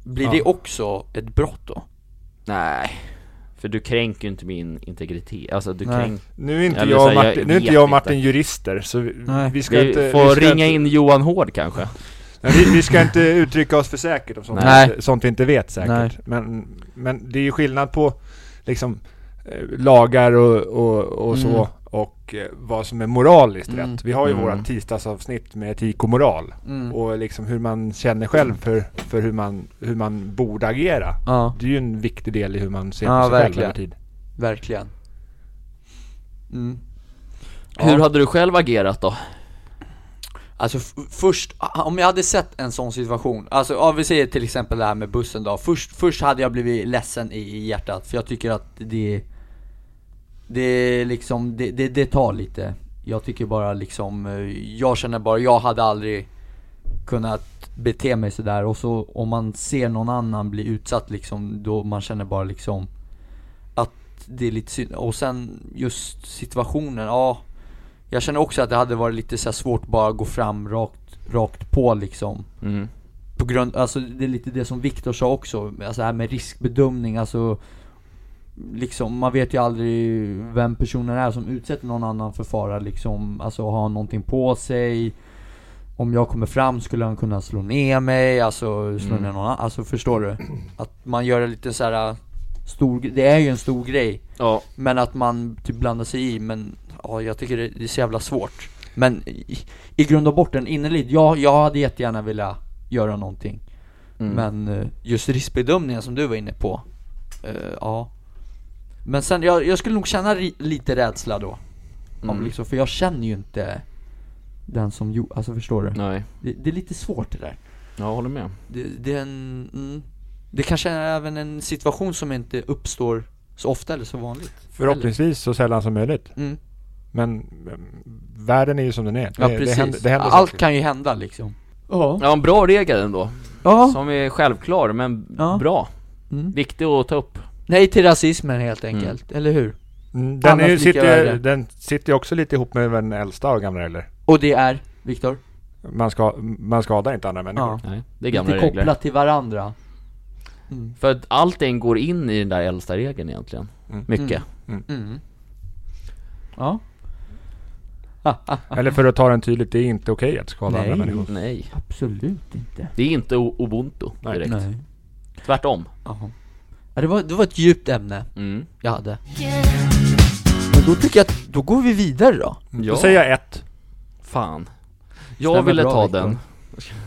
[SPEAKER 4] Blir
[SPEAKER 2] Ja.
[SPEAKER 4] det också ett brott då?
[SPEAKER 1] Nej, för du kränker ju inte min integritet, alltså du
[SPEAKER 4] Nej.
[SPEAKER 1] kränker
[SPEAKER 2] Nu är inte,
[SPEAKER 1] Eller
[SPEAKER 2] jag,
[SPEAKER 1] så
[SPEAKER 2] och
[SPEAKER 1] här, jag
[SPEAKER 2] Martin, nu är inte
[SPEAKER 1] vet
[SPEAKER 2] jag och
[SPEAKER 1] inte.
[SPEAKER 2] Martin jurister, så vi,
[SPEAKER 4] Nej.
[SPEAKER 2] vi ska inte...
[SPEAKER 1] Vi
[SPEAKER 2] vi
[SPEAKER 1] får
[SPEAKER 2] ska
[SPEAKER 1] ringa
[SPEAKER 2] inte,
[SPEAKER 1] in Johan Hård kanske?
[SPEAKER 2] Nej, Vi, vi ska inte uttrycka oss för säkert om sånt,
[SPEAKER 4] Nej.
[SPEAKER 2] Vi, sånt vi inte vet
[SPEAKER 4] Nej.
[SPEAKER 2] säkert. Men, men det är ju skillnad på liksom eh, lagar och, och, och
[SPEAKER 4] Mm.
[SPEAKER 2] så och eh, vad som är moraliskt
[SPEAKER 4] Mm.
[SPEAKER 2] rätt. Vi har ju
[SPEAKER 1] Mm.
[SPEAKER 2] våra tisdagsavsnitt med etik och moral och liksom hur man känner själv för, för hur, man, hur man borde agera.
[SPEAKER 4] Ja,
[SPEAKER 2] Det är ju en viktig del i hur man ser
[SPEAKER 4] Ja,
[SPEAKER 2] på sig själv
[SPEAKER 4] verkligen.
[SPEAKER 2] över tid.
[SPEAKER 4] verkligen mm.
[SPEAKER 1] Hur hade du själv agerat då?
[SPEAKER 4] Alltså f- först, om jag hade sett en sån situation, alltså ja, vi säger till exempel det här med bussen då Först, först hade jag blivit ledsen i, i hjärtat, för jag tycker att det Det är liksom, det, det, det tar lite Jag tycker bara liksom, eh, jag känner bara, jag hade aldrig kunnat bete mig sådär och så om man ser någon annan bli utsatt liksom, då man känner bara liksom Att det är lite synd, och sen just situationen, ja jag känner också att det hade varit lite så här svårt bara att gå fram rakt, rakt på liksom
[SPEAKER 1] Mm.
[SPEAKER 4] På grund, alltså det är lite det som Viktor sa också, alltså det här med riskbedömning, alltså Liksom, man vet ju aldrig vem personen är som utsätter någon annan för fara liksom, alltså har någonting på sig Om jag kommer fram skulle han kunna slå ner mig, alltså slå ner någon annan, alltså förstår du? Att man gör det lite så här stor, det är ju en stor grej
[SPEAKER 1] Ja,
[SPEAKER 4] men att man typ blandar sig i, men ja, jag tycker det, det är så jävla svårt Men i, i grund och botten, innerligt, ja, jag hade jättegärna velat göra någonting Men eh, just riskbedömningen som du var inne på, eh, ja Men sen, jag, jag skulle nog känna ri, lite rädsla då om liksom, För jag känner ju inte den som gjorde, alltså förstår du?
[SPEAKER 1] nej,
[SPEAKER 4] Det, det är lite svårt det där
[SPEAKER 1] jag håller med
[SPEAKER 4] det, det är en, mm, det kanske är även en situation som inte uppstår så ofta eller så vanligt
[SPEAKER 2] Förhoppningsvis så sällan som möjligt.
[SPEAKER 4] Mm.
[SPEAKER 2] Men mm, världen är ju som den är. Eh, Det,
[SPEAKER 4] Ja
[SPEAKER 2] det
[SPEAKER 4] precis,
[SPEAKER 2] händer, det händer
[SPEAKER 4] allt
[SPEAKER 2] saker.
[SPEAKER 4] kan ju hända liksom Ja,
[SPEAKER 1] Ja, en bra regel ändå,
[SPEAKER 4] ja.
[SPEAKER 1] som är självklar men
[SPEAKER 4] Ja.
[SPEAKER 1] bra
[SPEAKER 4] Mm.
[SPEAKER 1] Viktig att ta upp
[SPEAKER 4] nej till rasismen helt enkelt, eller hur?
[SPEAKER 2] Mm, Den, är, ju-
[SPEAKER 4] Annars lika
[SPEAKER 2] sitter,
[SPEAKER 4] värre.
[SPEAKER 2] ju- den sitter ju också lite ihop med den äldsta av gamla regler.
[SPEAKER 4] Och det är, Viktor?
[SPEAKER 2] Man, ska, man skadar inte andra människor.
[SPEAKER 4] Ja,
[SPEAKER 1] Nej, det är gamla
[SPEAKER 4] lite
[SPEAKER 1] regler
[SPEAKER 4] kopplat till varandra
[SPEAKER 1] För att allting går in i den där äldsta regeln egentligen, mycket
[SPEAKER 4] mm. Ja,
[SPEAKER 2] Eller för att ta den tydligt, det är inte okej att skada
[SPEAKER 4] Nej.
[SPEAKER 2] andra människor.
[SPEAKER 1] Nej,
[SPEAKER 4] absolut inte
[SPEAKER 1] det är inte o- ubuntu
[SPEAKER 2] Nej.
[SPEAKER 1] direkt,
[SPEAKER 4] Nej
[SPEAKER 1] tvärtom
[SPEAKER 4] Ja, ja det, var, det var ett djupt ämne
[SPEAKER 1] mm.
[SPEAKER 4] jag hade
[SPEAKER 5] Yeah.
[SPEAKER 4] Men då tycker jag att, då går vi vidare då
[SPEAKER 1] Mm. Ja,
[SPEAKER 2] Då säger jag ett.
[SPEAKER 1] fan Jag
[SPEAKER 4] Stämmer
[SPEAKER 1] ville
[SPEAKER 4] bra,
[SPEAKER 1] ta
[SPEAKER 4] Viktor.
[SPEAKER 1] den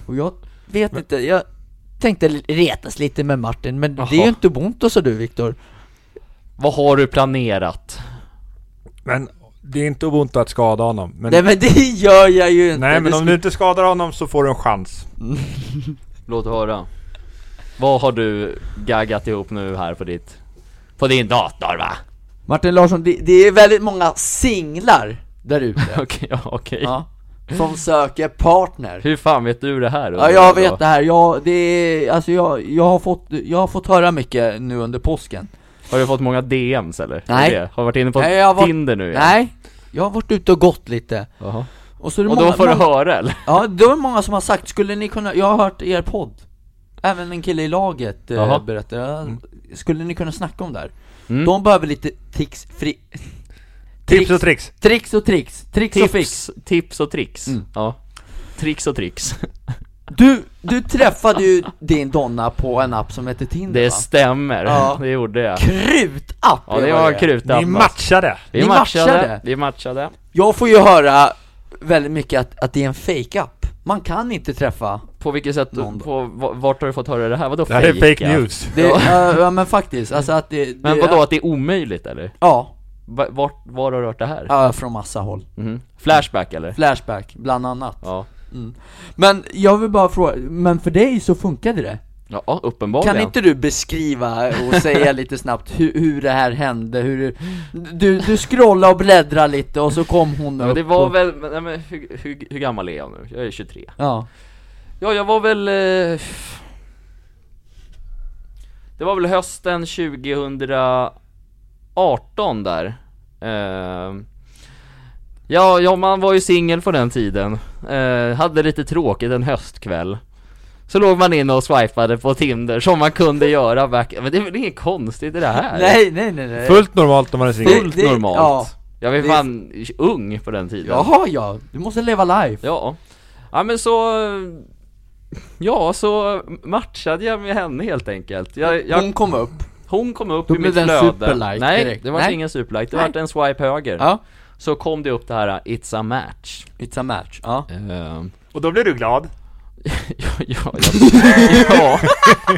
[SPEAKER 4] Och jag vet inte, jag tänkte retas lite med Martin, men det är ju
[SPEAKER 1] Jaha.
[SPEAKER 4] inte Ubuntu sa du Viktor
[SPEAKER 1] Vad har du planerat?
[SPEAKER 2] Men det är inte ubuntu att skada honom. Men,
[SPEAKER 4] Nej men det gör jag ju inte
[SPEAKER 2] nej, men
[SPEAKER 4] Det
[SPEAKER 2] om du inte skadar honom så får du en chans.
[SPEAKER 1] Låt höra Vad har du gaggat ihop nu här på ditt, på din dator va?
[SPEAKER 4] Martin Larsson, det, det är väldigt många singlar där ute
[SPEAKER 1] Okej, ja, okej.
[SPEAKER 4] ja, Som söker partner
[SPEAKER 1] Hur fan vet du det här?
[SPEAKER 4] Ja jag vet det här, jag, det är, alltså jag, jag har fått, jag har fått höra mycket nu under påsken
[SPEAKER 1] Har du fått många DMs eller?
[SPEAKER 4] Nej.
[SPEAKER 1] Är det? Har du varit inne på
[SPEAKER 4] Nej, jag har varit-
[SPEAKER 1] Tinder nu igen?
[SPEAKER 4] Nej, jag har varit ute och gått lite
[SPEAKER 1] Jaha.
[SPEAKER 4] Och så är det
[SPEAKER 1] Och
[SPEAKER 4] många,
[SPEAKER 1] då får du
[SPEAKER 4] många,
[SPEAKER 1] höra eller?
[SPEAKER 4] Ja, då är det många som har sagt, skulle ni kunna, jag har hört er podd Även en kille i laget
[SPEAKER 1] Jaha.
[SPEAKER 4] eh, berättade, "Ja, skulle ni kunna snacka om det här?
[SPEAKER 1] Mm.
[SPEAKER 4] De behöver lite tics, fri,
[SPEAKER 2] Tips och tricks.
[SPEAKER 4] tricks och tricks, tricks och fix
[SPEAKER 1] Tips, tips och tricks.
[SPEAKER 4] Mm.
[SPEAKER 1] Ja. Tricks och tricks.
[SPEAKER 4] Du, du träffade ju din donna på en app som heter Tinder
[SPEAKER 1] Det
[SPEAKER 4] va?
[SPEAKER 1] stämmer,
[SPEAKER 4] Ja.
[SPEAKER 1] det gjorde jag.
[SPEAKER 4] Krutapp!
[SPEAKER 1] Ja det var en krutapp
[SPEAKER 2] Ni matchade!
[SPEAKER 1] Vi
[SPEAKER 4] Ni
[SPEAKER 1] matchade.
[SPEAKER 4] matchade.
[SPEAKER 1] vi matchade.
[SPEAKER 4] Jag får ju höra väldigt mycket att, att det är en fake-app Man kan inte träffa
[SPEAKER 1] På vilket sätt,
[SPEAKER 4] Någon då.
[SPEAKER 1] på, va- vart har du fått höra det här? Vadå
[SPEAKER 2] Det här är fake
[SPEAKER 1] ja?
[SPEAKER 2] news.
[SPEAKER 4] det, ja. ja men faktiskt, alltså att det, det
[SPEAKER 1] Men vadå, att det är omöjligt eller?
[SPEAKER 4] Ja,
[SPEAKER 1] Va- Vart, var har du hört det här?
[SPEAKER 4] ja, från massa håll
[SPEAKER 1] Mhm. Flashback eller?
[SPEAKER 4] Flashback, bland annat
[SPEAKER 1] Ja.
[SPEAKER 4] Men jag vill bara fråga, men för dig så funkade det?
[SPEAKER 1] Ja,
[SPEAKER 4] Kan
[SPEAKER 1] uppenbarligen.
[SPEAKER 4] inte du beskriva och säga lite snabbt hur, hur det här hände, hur du, du, du scrollade och bläddrade lite och så kom hon
[SPEAKER 1] Ja, men
[SPEAKER 4] upp
[SPEAKER 1] det var
[SPEAKER 4] och,
[SPEAKER 1] väl, men, nej, men hur, hur, hur gammal är jag nu? Jag är 23.
[SPEAKER 4] Ja,
[SPEAKER 1] Ja, jag var väl... Eh, det var väl hösten 2018 där. Eh, ja, ja, man var ju singel på den tiden. Eh, hade lite tråkigt en höstkväll. Så låg man inne och swipade på Tinder som man kunde göra back... Men det är väl inget konstigt i det här?
[SPEAKER 4] nej nej nej nej
[SPEAKER 2] Fullt normalt om man är singel.
[SPEAKER 1] Fullt
[SPEAKER 4] Det- det-
[SPEAKER 1] normalt.
[SPEAKER 4] ja.
[SPEAKER 1] Jag var
[SPEAKER 4] Det-
[SPEAKER 1] fan ung på den tiden.
[SPEAKER 4] Jaha ja, du måste leva life
[SPEAKER 1] Ja, ja men så... Ja, så matchade jag med henne helt enkelt. Jag, jag,
[SPEAKER 4] Hon kom upp,
[SPEAKER 1] hon kom upp
[SPEAKER 4] Då
[SPEAKER 1] i mitt
[SPEAKER 4] blev det en
[SPEAKER 1] flöde.
[SPEAKER 4] superlike
[SPEAKER 1] Nej,
[SPEAKER 4] direkt.
[SPEAKER 1] det var
[SPEAKER 4] Nej.
[SPEAKER 1] ingen superlike, det
[SPEAKER 4] Nej.
[SPEAKER 1] var en swipe höger.
[SPEAKER 4] ja,
[SPEAKER 1] Så kom det upp det här 'It's a match'
[SPEAKER 4] it's a match, ja
[SPEAKER 1] Ehm,
[SPEAKER 2] Och då blir du glad.
[SPEAKER 1] ja, ja, ja.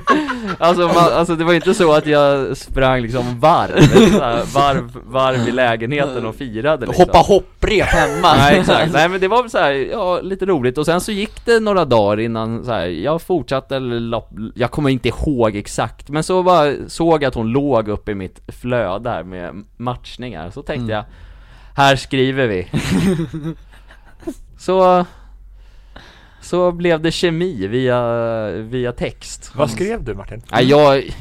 [SPEAKER 1] Alltså, man, alltså det var inte så att jag sprang liksom varv, så här, varv, varv i lägenheten och firade liksom.
[SPEAKER 4] Hoppa hopprep hemma
[SPEAKER 1] Nej exakt, nej men det var väl så här, ja lite roligt och sen så gick det några dagar innan så här, jag fortsatte eller la- jag kommer inte ihåg exakt men så bara såg jag att hon låg uppe i mitt flöde här med matchningar så tänkte jag, här skriver vi Så så blev det kemi via, via text
[SPEAKER 4] Mm.
[SPEAKER 2] Vad skrev du Martin?
[SPEAKER 1] Nej jag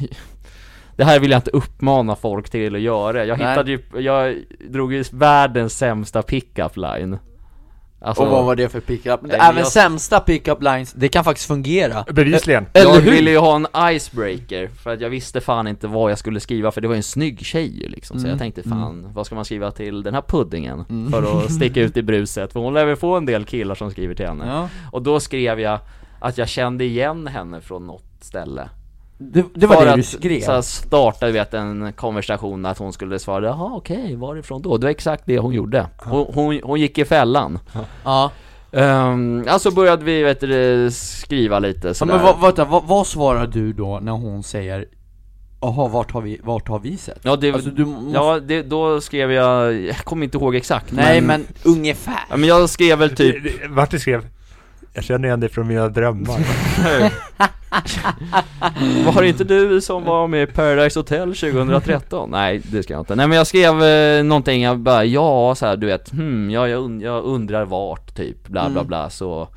[SPEAKER 1] Det här vill jag inte uppmana folk till att göra Jag
[SPEAKER 4] Nej.
[SPEAKER 1] hittade ju, jag drog ju världens sämsta pick-up line Alltså,
[SPEAKER 4] Och vad var det för pickup?
[SPEAKER 1] Nej,
[SPEAKER 4] Även
[SPEAKER 1] jag-
[SPEAKER 4] sämsta pickup lines, det kan faktiskt fungera
[SPEAKER 2] Bevisligen.
[SPEAKER 1] jag
[SPEAKER 4] Eller hur?
[SPEAKER 1] ville ju ha en icebreaker för att jag visste fan inte vad jag skulle skriva för det var ju en snygg tjej ju liksom
[SPEAKER 4] Mm.
[SPEAKER 1] Så jag tänkte fan, vad ska man skriva till den här puddingen? För att sticka ut i bruset, för hon lär väl få en del killar som skriver till henne
[SPEAKER 4] Ja.
[SPEAKER 1] Och då skrev jag att jag kände igen henne från något ställe
[SPEAKER 4] Det, det var
[SPEAKER 1] För
[SPEAKER 4] det
[SPEAKER 1] att
[SPEAKER 4] du skrev?
[SPEAKER 1] Så här startade vi att en konversation att hon skulle svara Jaha okej, varifrån då? Det var exakt det hon gjorde Hon, hon, hon gick i fällan
[SPEAKER 4] ja
[SPEAKER 1] Ehm, Alltså började vi vet du, skriva lite
[SPEAKER 4] Ja,
[SPEAKER 1] sådär
[SPEAKER 4] men vad, vänta, vad, vad svarar du då när hon säger Jaha, vart har vi, vart har vi sett?
[SPEAKER 1] Ja, det,
[SPEAKER 4] Alltså, du måste-
[SPEAKER 1] ja det, då skrev jag, jag kommer inte ihåg exakt
[SPEAKER 4] Nej
[SPEAKER 1] men,
[SPEAKER 4] men ungefär
[SPEAKER 1] Ja, men jag skrev väl typ
[SPEAKER 2] Martin skrev Jag känner igen dig från mina drömmar.
[SPEAKER 1] Var det inte du som var med i Paradise Hotel 2013? Nej, det ska jag inte. Nej men jag skrev eh, någonting, jag bara ja så här, du vet, hmm, ja, jag, und- jag undrar vart typ, bla
[SPEAKER 4] Mm.
[SPEAKER 1] bla bla så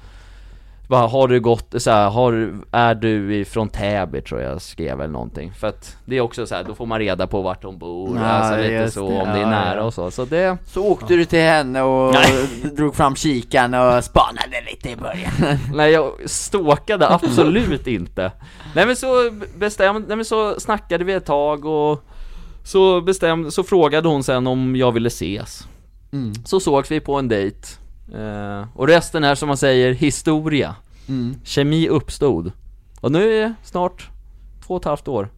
[SPEAKER 1] bara, har du gått, så här, har, är du ifrån Täby tror jag skrev eller någonting För att det är också så här, då får man reda på vart hon bor,
[SPEAKER 4] Ja,
[SPEAKER 1] alltså lite
[SPEAKER 4] just
[SPEAKER 1] så,
[SPEAKER 4] det.
[SPEAKER 1] om det är
[SPEAKER 4] Ja,
[SPEAKER 1] nära
[SPEAKER 4] ja.
[SPEAKER 1] och så, så det
[SPEAKER 4] Så åkte du till henne och
[SPEAKER 1] Nej.
[SPEAKER 4] drog fram kikaren och spanade lite i början
[SPEAKER 1] Nej jag stalkade absolut inte Nej men så bestämde, nej men så snackade vi ett tag och så bestämde, så frågade hon sen om jag ville ses Så sågs vi på en dejt eh, Och resten är som man säger historia Kemi uppstod Och nu är det snart två och ett halvt år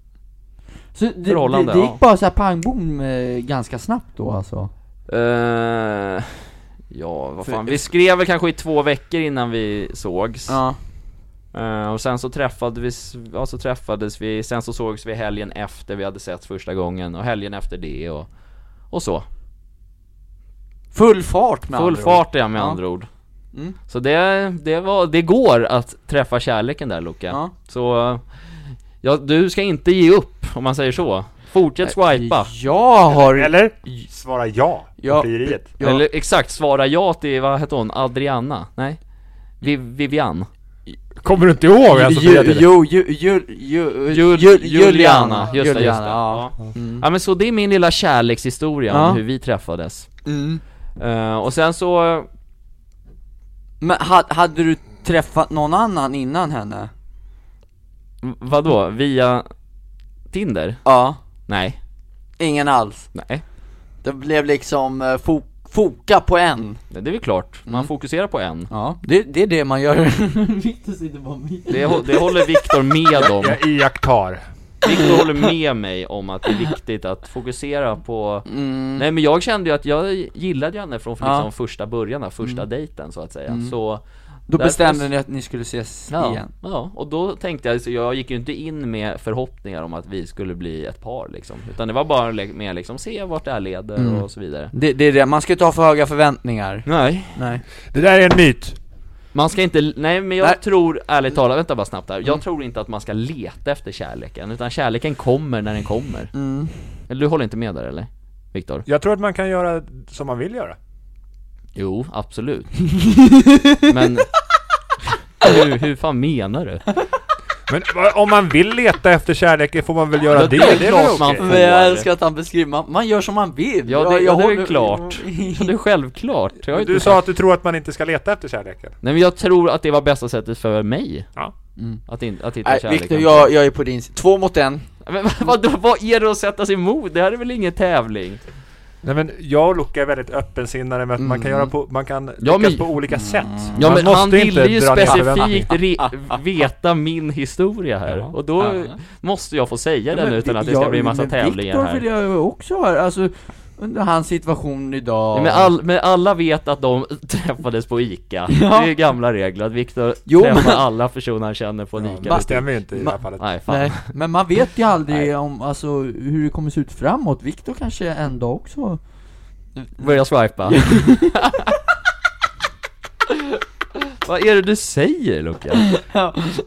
[SPEAKER 4] Så det,
[SPEAKER 1] Förhållande,
[SPEAKER 4] det, det gick
[SPEAKER 1] ja.
[SPEAKER 4] bara så här pang bom eh, ganska snabbt då alltså
[SPEAKER 1] eh, Ja vad fan, vi skrev väl kanske i två veckor innan vi sågs
[SPEAKER 4] Ja,
[SPEAKER 1] Eh, och sen så träffades, vi, ja, så träffades vi, sen så sågs vi helgen efter vi hade sett första gången och helgen efter det och, och så.
[SPEAKER 4] full fart med
[SPEAKER 1] Full
[SPEAKER 4] andra ord.
[SPEAKER 1] fart är jag med
[SPEAKER 4] Ja.
[SPEAKER 1] andra ord.
[SPEAKER 4] Mm.
[SPEAKER 1] Så det, det, var, det går att träffa kärleken där Luca.
[SPEAKER 4] Ja.
[SPEAKER 1] Så, ja, du ska inte ge upp om man säger så. Fortsätt swipa.
[SPEAKER 4] Jag har...
[SPEAKER 2] Eller? Svara ja på
[SPEAKER 4] Ja.
[SPEAKER 2] frieriet.
[SPEAKER 4] Ja.
[SPEAKER 1] Eller exakt, svara ja till, vad hette hon, Adriana? Nej? Vi, Vivian?
[SPEAKER 2] Kommer du inte ihåg alltså
[SPEAKER 4] Ju-
[SPEAKER 2] frieriet?
[SPEAKER 4] Jo, ju, ju, ju,
[SPEAKER 1] Jul-
[SPEAKER 4] ju-
[SPEAKER 1] Juliana, just det, just det.
[SPEAKER 4] ja. Mm.
[SPEAKER 1] Ja. Ja men så det är min lilla kärlekshistoria
[SPEAKER 4] Ja.
[SPEAKER 1] om hur vi träffades.
[SPEAKER 4] Mm.
[SPEAKER 1] Eh, och sen så,
[SPEAKER 4] Men ha, hade du träffat någon annan innan henne?
[SPEAKER 1] vadå, via Tinder?
[SPEAKER 4] Ja,
[SPEAKER 1] Nej,
[SPEAKER 4] ingen alls.
[SPEAKER 1] nej.
[SPEAKER 4] Det blev liksom eh, fo, foka på en.
[SPEAKER 1] Det är väl klart, man fokuserar på en.
[SPEAKER 4] Ja, det, det är det man gör. Victor sitter bara
[SPEAKER 1] Det, hå- det håller Viktor med om.
[SPEAKER 2] Jag iakttar.
[SPEAKER 1] Viktor håller med mig om att det är viktigt att fokusera på Nej men jag kände ju att jag gillade ju henne från liksom
[SPEAKER 4] Ja.
[SPEAKER 1] första början, där, första dejten så att säga. Så
[SPEAKER 4] Då
[SPEAKER 1] Därför-
[SPEAKER 4] bestämde ni att ni skulle ses
[SPEAKER 1] Ja,
[SPEAKER 4] igen.
[SPEAKER 1] ja, och då tänkte jag, så jag gick ju inte in med förhoppningar om att vi skulle bli ett par liksom Utan det var bara le- mer liksom, se vart det här leder och så vidare
[SPEAKER 4] Det, det är det, man ska inte ha för höga förväntningar.
[SPEAKER 1] Nej
[SPEAKER 4] Nej.
[SPEAKER 2] Det där är en myt.
[SPEAKER 1] Man ska inte, nej men jag
[SPEAKER 4] Nej. Mm.
[SPEAKER 1] tror, ärligt talat, vänta bara snabbt här Jag tror inte att man ska leta efter kärleken, utan kärleken kommer när den kommer
[SPEAKER 4] Mm.
[SPEAKER 1] Eller du håller inte med där eller? Viktor?
[SPEAKER 2] Jag tror att man kan göra som man vill göra.
[SPEAKER 1] Jo, absolut Men, hur, hur fan menar du?
[SPEAKER 2] Men va- om man vill leta efter kärleken får man väl göra
[SPEAKER 1] Ja,
[SPEAKER 2] det?
[SPEAKER 1] det är
[SPEAKER 2] väl
[SPEAKER 1] klart man
[SPEAKER 2] okej?
[SPEAKER 1] får.
[SPEAKER 4] Men jag älskar att han beskriver, man, man gör som man vill.
[SPEAKER 1] Ja
[SPEAKER 4] Jag-
[SPEAKER 1] det,
[SPEAKER 4] jag
[SPEAKER 1] ja, det är
[SPEAKER 4] håller-
[SPEAKER 1] klart, ja, det är självklart Jag har
[SPEAKER 2] Du
[SPEAKER 1] inte
[SPEAKER 2] sa att du tror att man inte ska leta efter kärleken.
[SPEAKER 1] Nej men jag tror att det var bästa sättet för mig
[SPEAKER 2] Ja.
[SPEAKER 1] Att, in, att hitta
[SPEAKER 4] Nej,
[SPEAKER 1] kärleken
[SPEAKER 4] Victor, jag, jag är på din sida. Två mot en.
[SPEAKER 1] Men vad, vad är det att sätta sig emot? Det här är väl ingen tävling?
[SPEAKER 2] Nej men jag och Luca är väldigt öppensinnade med att man kan göra på, man kan lyckas
[SPEAKER 1] Mm. men- Mm.
[SPEAKER 2] på olika sätt.
[SPEAKER 1] Ja
[SPEAKER 2] man
[SPEAKER 1] men han ville ju
[SPEAKER 2] dra ner
[SPEAKER 1] specifikt
[SPEAKER 2] förväntningarna.
[SPEAKER 1] re- veta min historia här Och då måste jag få säga den utan att det ska bli en massa tävlingar här
[SPEAKER 4] Victor vill jag ju också höra, alltså under hans situation idag.
[SPEAKER 1] Nej, men, all, men alla vet att de träffades på ICA Det är ju gamla regler att Viktor
[SPEAKER 4] Jo,
[SPEAKER 1] träffar
[SPEAKER 4] men-
[SPEAKER 1] alla personer han känner på en
[SPEAKER 2] Det
[SPEAKER 1] ICA
[SPEAKER 2] stämmer ju inte i det här fallet.
[SPEAKER 1] Nej fan
[SPEAKER 4] Nej, men man vet ju aldrig om, alltså, hur det kommer se ut framåt. Victor kanske en dag också...
[SPEAKER 1] Börja swipa Vad är det du säger Luca?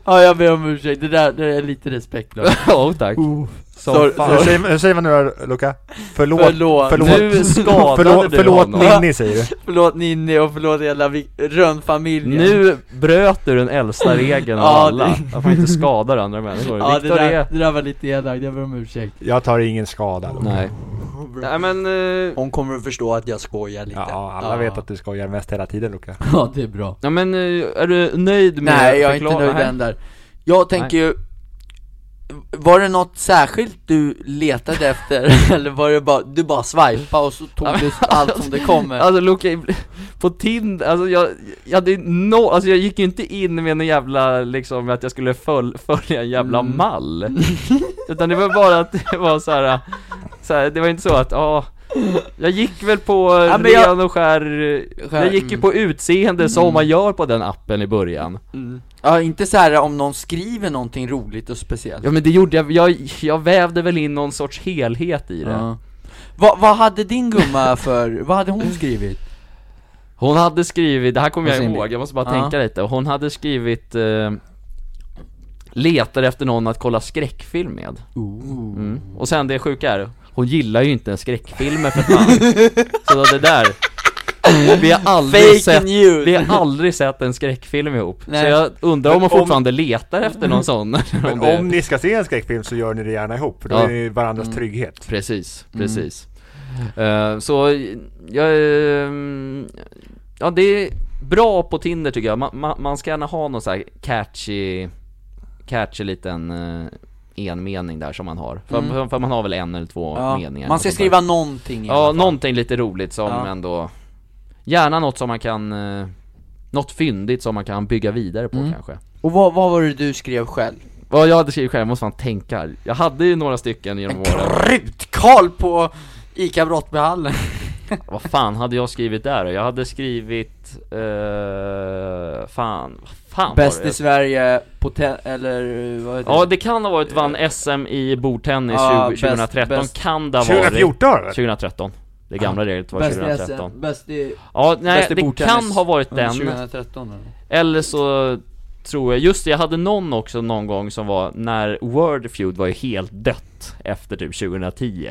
[SPEAKER 4] Ja, jag ber om ursäkt. Det där, det där är lite respektlöst.
[SPEAKER 1] Ja tack Som
[SPEAKER 4] Oh, Sorry,
[SPEAKER 1] fan.
[SPEAKER 2] Hur säger, hur säger man nu då, Luca? Förlåt,
[SPEAKER 4] Förlåt.
[SPEAKER 2] förlåt,
[SPEAKER 1] Nu skadade
[SPEAKER 2] förlåt,
[SPEAKER 1] du
[SPEAKER 2] förlåt
[SPEAKER 1] honom.
[SPEAKER 2] Ninni säger du.
[SPEAKER 4] Förlåt Ninni och förlåt hela Vi- Rönn-familjen.
[SPEAKER 1] Nu bröt du den äldsta regeln av
[SPEAKER 4] Ja,
[SPEAKER 1] alla,
[SPEAKER 4] det-
[SPEAKER 1] att man inte skadar andra människor.
[SPEAKER 4] Ja, det
[SPEAKER 1] Viktor
[SPEAKER 4] där,
[SPEAKER 1] är...
[SPEAKER 4] det där var lite elakt. Jag ber om ursäkt.
[SPEAKER 2] Jag tar ingen skada. Luca.
[SPEAKER 1] Nej. Nej men, eh,
[SPEAKER 4] Hon kommer att förstå att jag skojar lite.
[SPEAKER 2] Ja, alla vet att du skojar mest hela tiden Luca.
[SPEAKER 4] Ja, det är bra.
[SPEAKER 1] ja men, eh, är du nöjd med
[SPEAKER 4] Nej, jag är inte
[SPEAKER 1] förklara-
[SPEAKER 4] nöjd
[SPEAKER 1] Nej.
[SPEAKER 4] än där. Jag tänker ju, var det något särskilt du letade efter? Eller var det bara, du bara swipa och så tog du allt som det kommer?
[SPEAKER 1] Alltså Luca, på Tinder, alltså jag, jag hade no, alltså jag gick ju inte in med någon jävla liksom att jag skulle föl, följa en jävla
[SPEAKER 4] Mm.
[SPEAKER 1] mall Utan det var bara att det var så här, så här det var inte så att, ja jag gick väl på
[SPEAKER 4] men jag-
[SPEAKER 1] ren och skär,
[SPEAKER 4] Skär,
[SPEAKER 1] jag gick ju
[SPEAKER 4] mm.
[SPEAKER 1] på utseende som man gör på den appen i början
[SPEAKER 4] Ja, inte så här om någon skriver någonting roligt och speciellt.
[SPEAKER 1] Ja men det gjorde jag, jag, jag vävde väl in någon sorts helhet i det
[SPEAKER 4] Ja. Vad, vad hade din gumma för, vad hade hon skrivit?
[SPEAKER 1] Hon hade skrivit, det här kommer
[SPEAKER 4] På
[SPEAKER 1] jag
[SPEAKER 4] sin
[SPEAKER 1] ihåg,
[SPEAKER 4] bild.
[SPEAKER 1] jag måste bara
[SPEAKER 4] Ja.
[SPEAKER 1] tänka lite Hon hade skrivit eh, Letar efter någon att kolla skräckfilm med mm. Och sen det sjuka är, hon gillar ju inte en skräckfilmer för fan Så det där vi har, aldrig
[SPEAKER 4] Fake
[SPEAKER 1] sett,
[SPEAKER 4] news.
[SPEAKER 1] vi har aldrig sett en skräckfilm ihop, så
[SPEAKER 4] Nej.
[SPEAKER 1] jag undrar om hon
[SPEAKER 2] Men om-
[SPEAKER 1] fortfarande letar efter någon sån eller
[SPEAKER 2] Men
[SPEAKER 1] det-
[SPEAKER 2] om ni ska se en skräckfilm så gör ni det gärna ihop, för då
[SPEAKER 1] Ja.
[SPEAKER 2] är ni varandras trygghet.
[SPEAKER 1] Precis,
[SPEAKER 4] Mm.
[SPEAKER 1] precis. Eh, så jag... ehm, ja, det är bra på Tinder tycker jag. Man, man, man ska gärna ha någon så här catchy, catchy liten uh, enmening där som man har. För, för, för man har väl en eller två
[SPEAKER 4] Mm. Ja.
[SPEAKER 1] meningar.
[SPEAKER 4] Man ska
[SPEAKER 1] och sånt där.
[SPEAKER 4] skriva någonting i
[SPEAKER 1] Ja,
[SPEAKER 4] alla fall.
[SPEAKER 1] någonting lite roligt som
[SPEAKER 4] Ja.
[SPEAKER 1] ändå... Gärna något som man kan... eh, något fyndigt som man kan bygga vidare på
[SPEAKER 4] Mm.
[SPEAKER 1] kanske.
[SPEAKER 4] Och vad, vad var det du skrev själv?
[SPEAKER 1] Vad jag hade skrivit själv, jag måste fan tänka. Jag hade ju några stycken genom åren.
[SPEAKER 4] Krutkarl på ICA Brottbyhallen.
[SPEAKER 1] Vad fan hade jag skrivit där då? Jag hade skrivit... eh, fan, vad fan
[SPEAKER 4] Bäst
[SPEAKER 1] var det?
[SPEAKER 4] i Sverige, på te- eller eh, vad heter
[SPEAKER 1] Ja det kan ha varit vann SM i bordtennis
[SPEAKER 4] Ja,
[SPEAKER 1] 20, 2013,
[SPEAKER 4] bäst- bäst-
[SPEAKER 1] kan det ha varit
[SPEAKER 2] 2014 eller?
[SPEAKER 1] 2013 Det gamla reglet var
[SPEAKER 4] Bäst i
[SPEAKER 1] 2013
[SPEAKER 4] SM, bäst i
[SPEAKER 1] Ja nej
[SPEAKER 4] bäst i
[SPEAKER 1] det
[SPEAKER 4] bordtennis.
[SPEAKER 1] kan ha varit den,
[SPEAKER 4] 2013 eller?
[SPEAKER 1] eller så tror jag, just det, jag hade någon också någon gång som var när Wordfeud var ju helt dött efter typ 2010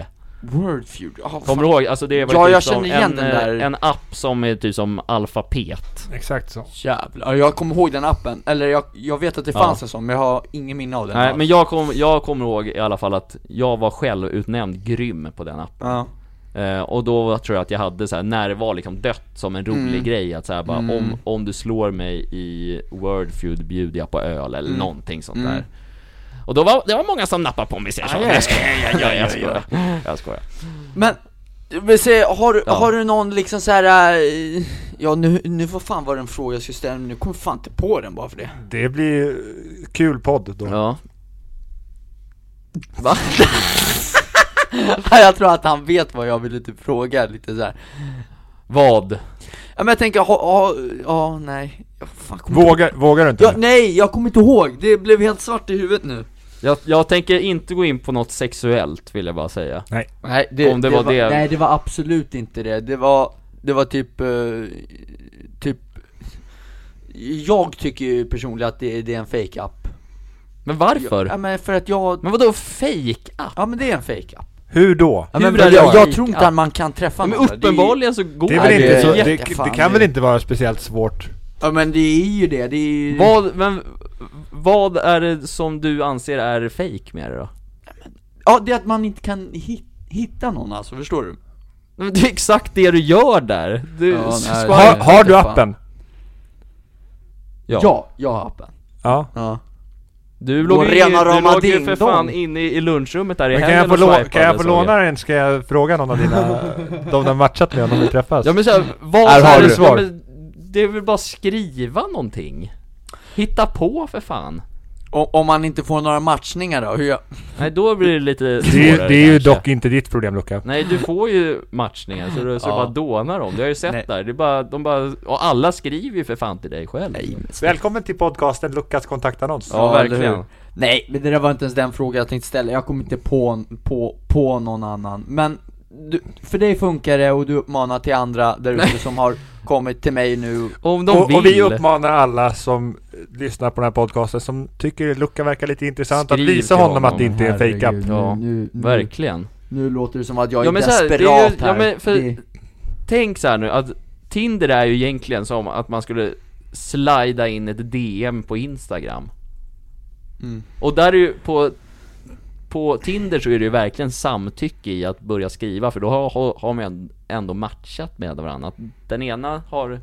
[SPEAKER 4] Wordfeud, oh,
[SPEAKER 1] Kommer du ihåg? Alltså det var
[SPEAKER 4] Ja,
[SPEAKER 1] typ
[SPEAKER 4] jag
[SPEAKER 1] som
[SPEAKER 4] känner igen
[SPEAKER 1] en,
[SPEAKER 4] den
[SPEAKER 1] eh,
[SPEAKER 4] där.
[SPEAKER 1] en app som är typ som alfabet
[SPEAKER 2] Exakt så.
[SPEAKER 4] Jävlar, jag kommer ihåg den appen, eller jag, jag vet att det
[SPEAKER 1] Ja.
[SPEAKER 4] fanns en sån men jag har ingen minne av den
[SPEAKER 1] Nej
[SPEAKER 4] alls.
[SPEAKER 1] men jag, kom, jag kommer ihåg i alla fall att jag var självutnämnd grym på den appen
[SPEAKER 4] ja.
[SPEAKER 1] Eh, och då var- tror jag att jag hade så här, när det var liksom dött som en rolig grej att så här, bara om, om du slår mig i Wordfeud bjuder jag på öl eller någonting sånt där Och då var, det var många som nappade på mig så jag sa,
[SPEAKER 4] Aj, aj,
[SPEAKER 1] jag skojar, jag, jag, jag skojar, jag skojar
[SPEAKER 4] Men, men se, har,
[SPEAKER 1] Ja.
[SPEAKER 4] har du någon liksom så här. eh, ja nu, nu vad fan var det en fråga jag skulle ställa, men nu kom jag fan inte på den bara för det
[SPEAKER 2] Det blir eh, kul podd då.
[SPEAKER 1] Ja,
[SPEAKER 4] Va? jag tror att han vet vad jag ville typ fråga lite så här.
[SPEAKER 1] vad?
[SPEAKER 4] Ja men jag tänker, ha, ha, ja nej, jag fan kommer inte-
[SPEAKER 2] Vågar, vågar du inte?
[SPEAKER 4] ja, Nej, jag kommer inte ihåg, det blev helt svart i huvudet nu
[SPEAKER 1] Jag, jag tänker inte gå in på något sexuellt vill jag bara säga
[SPEAKER 4] Nej, det,
[SPEAKER 1] Om det var det-
[SPEAKER 4] Nej, det var absolut inte det. Det var, det var typ, eh, typ jag tycker ju personligen att det, det är en fake app
[SPEAKER 1] Men varför?
[SPEAKER 4] Ja men för att jag,
[SPEAKER 1] Men vadå fake app?
[SPEAKER 4] ja men det är en fake app
[SPEAKER 2] Hur då?
[SPEAKER 4] ja,
[SPEAKER 1] Hur
[SPEAKER 4] men
[SPEAKER 1] är
[SPEAKER 4] jag,
[SPEAKER 1] det
[SPEAKER 4] jag,
[SPEAKER 1] en fake
[SPEAKER 4] tror inte
[SPEAKER 1] app?
[SPEAKER 4] att man kan träffa
[SPEAKER 1] Men
[SPEAKER 4] någon där. alltså, Det är-
[SPEAKER 1] uppenbarligen så går
[SPEAKER 2] Det, är
[SPEAKER 4] Nej,
[SPEAKER 2] väl
[SPEAKER 4] det
[SPEAKER 2] inte
[SPEAKER 4] är
[SPEAKER 2] så, det,
[SPEAKER 4] jättefan,
[SPEAKER 2] det kan
[SPEAKER 4] det-
[SPEAKER 2] väl inte vara speciellt svårt?
[SPEAKER 4] Ja men det är ju det, det är ju
[SPEAKER 1] Vad, men, vad är det som du anser är fake med det då?
[SPEAKER 4] Ja det är att man inte kan hit, hitta någon alltså, förstår du?
[SPEAKER 1] Men det är exakt det du gör där! Du
[SPEAKER 4] Ja, nej.
[SPEAKER 1] skvallrar
[SPEAKER 4] Nej,
[SPEAKER 2] Har, har
[SPEAKER 4] jag vet
[SPEAKER 2] du
[SPEAKER 4] inte fan.
[SPEAKER 2] appen?
[SPEAKER 1] Ja.
[SPEAKER 4] Ja, jag har appen
[SPEAKER 2] Ja.
[SPEAKER 4] Ja
[SPEAKER 1] Du låg, ju,
[SPEAKER 4] rena
[SPEAKER 1] du
[SPEAKER 4] rama
[SPEAKER 1] låg ju för
[SPEAKER 4] ding
[SPEAKER 1] fan
[SPEAKER 4] dong.
[SPEAKER 1] inne i, i lunchrummet där i
[SPEAKER 2] Men kan
[SPEAKER 1] helgen
[SPEAKER 2] jag få,
[SPEAKER 1] och
[SPEAKER 2] lå-
[SPEAKER 1] swipade,
[SPEAKER 2] kan jag få
[SPEAKER 1] såg
[SPEAKER 2] låna den? Ska jag fråga någon av dina, de du har matchat med om de vill träffas?
[SPEAKER 1] Ja men såhär, vad
[SPEAKER 2] Här
[SPEAKER 1] så
[SPEAKER 2] har
[SPEAKER 1] här-
[SPEAKER 2] du
[SPEAKER 1] ja,
[SPEAKER 2] svar.
[SPEAKER 1] men Det är väl bara skriva någonting? Hitta på för fan!
[SPEAKER 4] och, Om man inte får några matchningar då, hur jag...
[SPEAKER 1] Nej då blir det lite
[SPEAKER 2] det, är ju-
[SPEAKER 1] svårare
[SPEAKER 2] det är ju
[SPEAKER 1] kanske.
[SPEAKER 2] dock inte ditt problem Luca.
[SPEAKER 1] Nej du får ju matchningar så du, så
[SPEAKER 4] Ja.
[SPEAKER 1] du bara dånar dem, det har jag ju sett
[SPEAKER 4] Nej.
[SPEAKER 1] där, det är bara, de bara, och alla skriver ju för fan till dig själv
[SPEAKER 2] Välkommen till podcasten Lukas kontaktannons.
[SPEAKER 1] Ja,
[SPEAKER 4] eller
[SPEAKER 1] verkligen.
[SPEAKER 4] hur? Nej, men det där var inte ens den fråga jag tänkte ställa, jag kom inte på, på, på någon annan Men, du, för dig funkar det och du uppmanar till andra där ute som har kommit till mig nu
[SPEAKER 1] Om de
[SPEAKER 2] Och,
[SPEAKER 1] vill,
[SPEAKER 2] och vi uppmanar alla som eh, lyssnar på den här podcasten som tycker Luca verkar lite intressant
[SPEAKER 1] Skriv
[SPEAKER 2] att visa
[SPEAKER 1] till
[SPEAKER 2] honom,
[SPEAKER 1] honom,
[SPEAKER 2] att det inte är en
[SPEAKER 4] Herregud,
[SPEAKER 2] fake-up.
[SPEAKER 1] Ja,
[SPEAKER 4] nu, nu, nu,
[SPEAKER 1] verkligen
[SPEAKER 4] nu låter det som att Mm. jag är
[SPEAKER 1] Ja, men så här, det är ju-
[SPEAKER 4] desperat
[SPEAKER 1] ja,
[SPEAKER 4] här
[SPEAKER 1] men för-
[SPEAKER 4] Det-
[SPEAKER 1] tänk så här nu att Tinder är ju egentligen som att man skulle slida in ett DM på Instagram.
[SPEAKER 4] Mm.
[SPEAKER 1] Och där är ju på, på Tinder så är det ju verkligen samtycke i att börja skriva för då har, har, har man ändå matchat med varandra. Att den ena har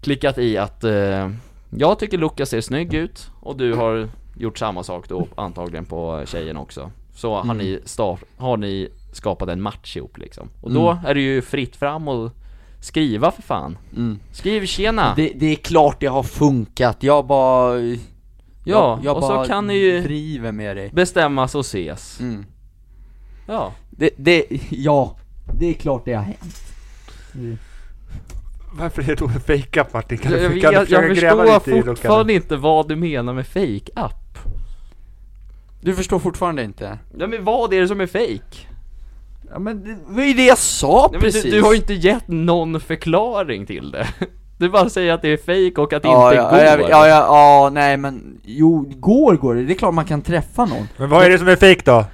[SPEAKER 1] klickat i att eh, jag tycker Lukas ser snygg ut och du har gjort samma sak då antagligen på tjejen också. Så
[SPEAKER 4] Mm.
[SPEAKER 1] har, ni, sta- har ni skapat en match ihop liksom. Och då är det ju fritt fram och skriva för fan.
[SPEAKER 4] Mm.
[SPEAKER 1] Skriv tjena!
[SPEAKER 4] Det, det är klart det har funkat, jag bara... Ja,
[SPEAKER 1] ja, och så kan ni ju
[SPEAKER 4] driver med dig
[SPEAKER 1] bestämmas och ses.
[SPEAKER 4] mm.
[SPEAKER 1] Ja.
[SPEAKER 4] det, det, ja, det är klart det har hänt
[SPEAKER 2] Varför är det då en fake-up Martin? Kan
[SPEAKER 1] Jag,
[SPEAKER 2] du,
[SPEAKER 1] jag,
[SPEAKER 2] kan du
[SPEAKER 1] jag,
[SPEAKER 2] försöka gräva
[SPEAKER 1] förstår
[SPEAKER 2] lite i Luca?
[SPEAKER 1] fortfarande inte vad du menar med fake app
[SPEAKER 4] Du förstår fortfarande inte?
[SPEAKER 1] Ja men vad är det som är fake?
[SPEAKER 4] Ja men det var ju det jag sa
[SPEAKER 1] Nej, men
[SPEAKER 4] precis!
[SPEAKER 1] du, du har ju inte gett någon förklaring till det Du bara säger att det är fake och att det
[SPEAKER 4] ja,
[SPEAKER 1] inte
[SPEAKER 4] ja,
[SPEAKER 1] går
[SPEAKER 4] Ja, ja, ja, ja, nej men, jo, går går det, det är klart man kan träffa någon
[SPEAKER 2] Men vad är det som är fake då?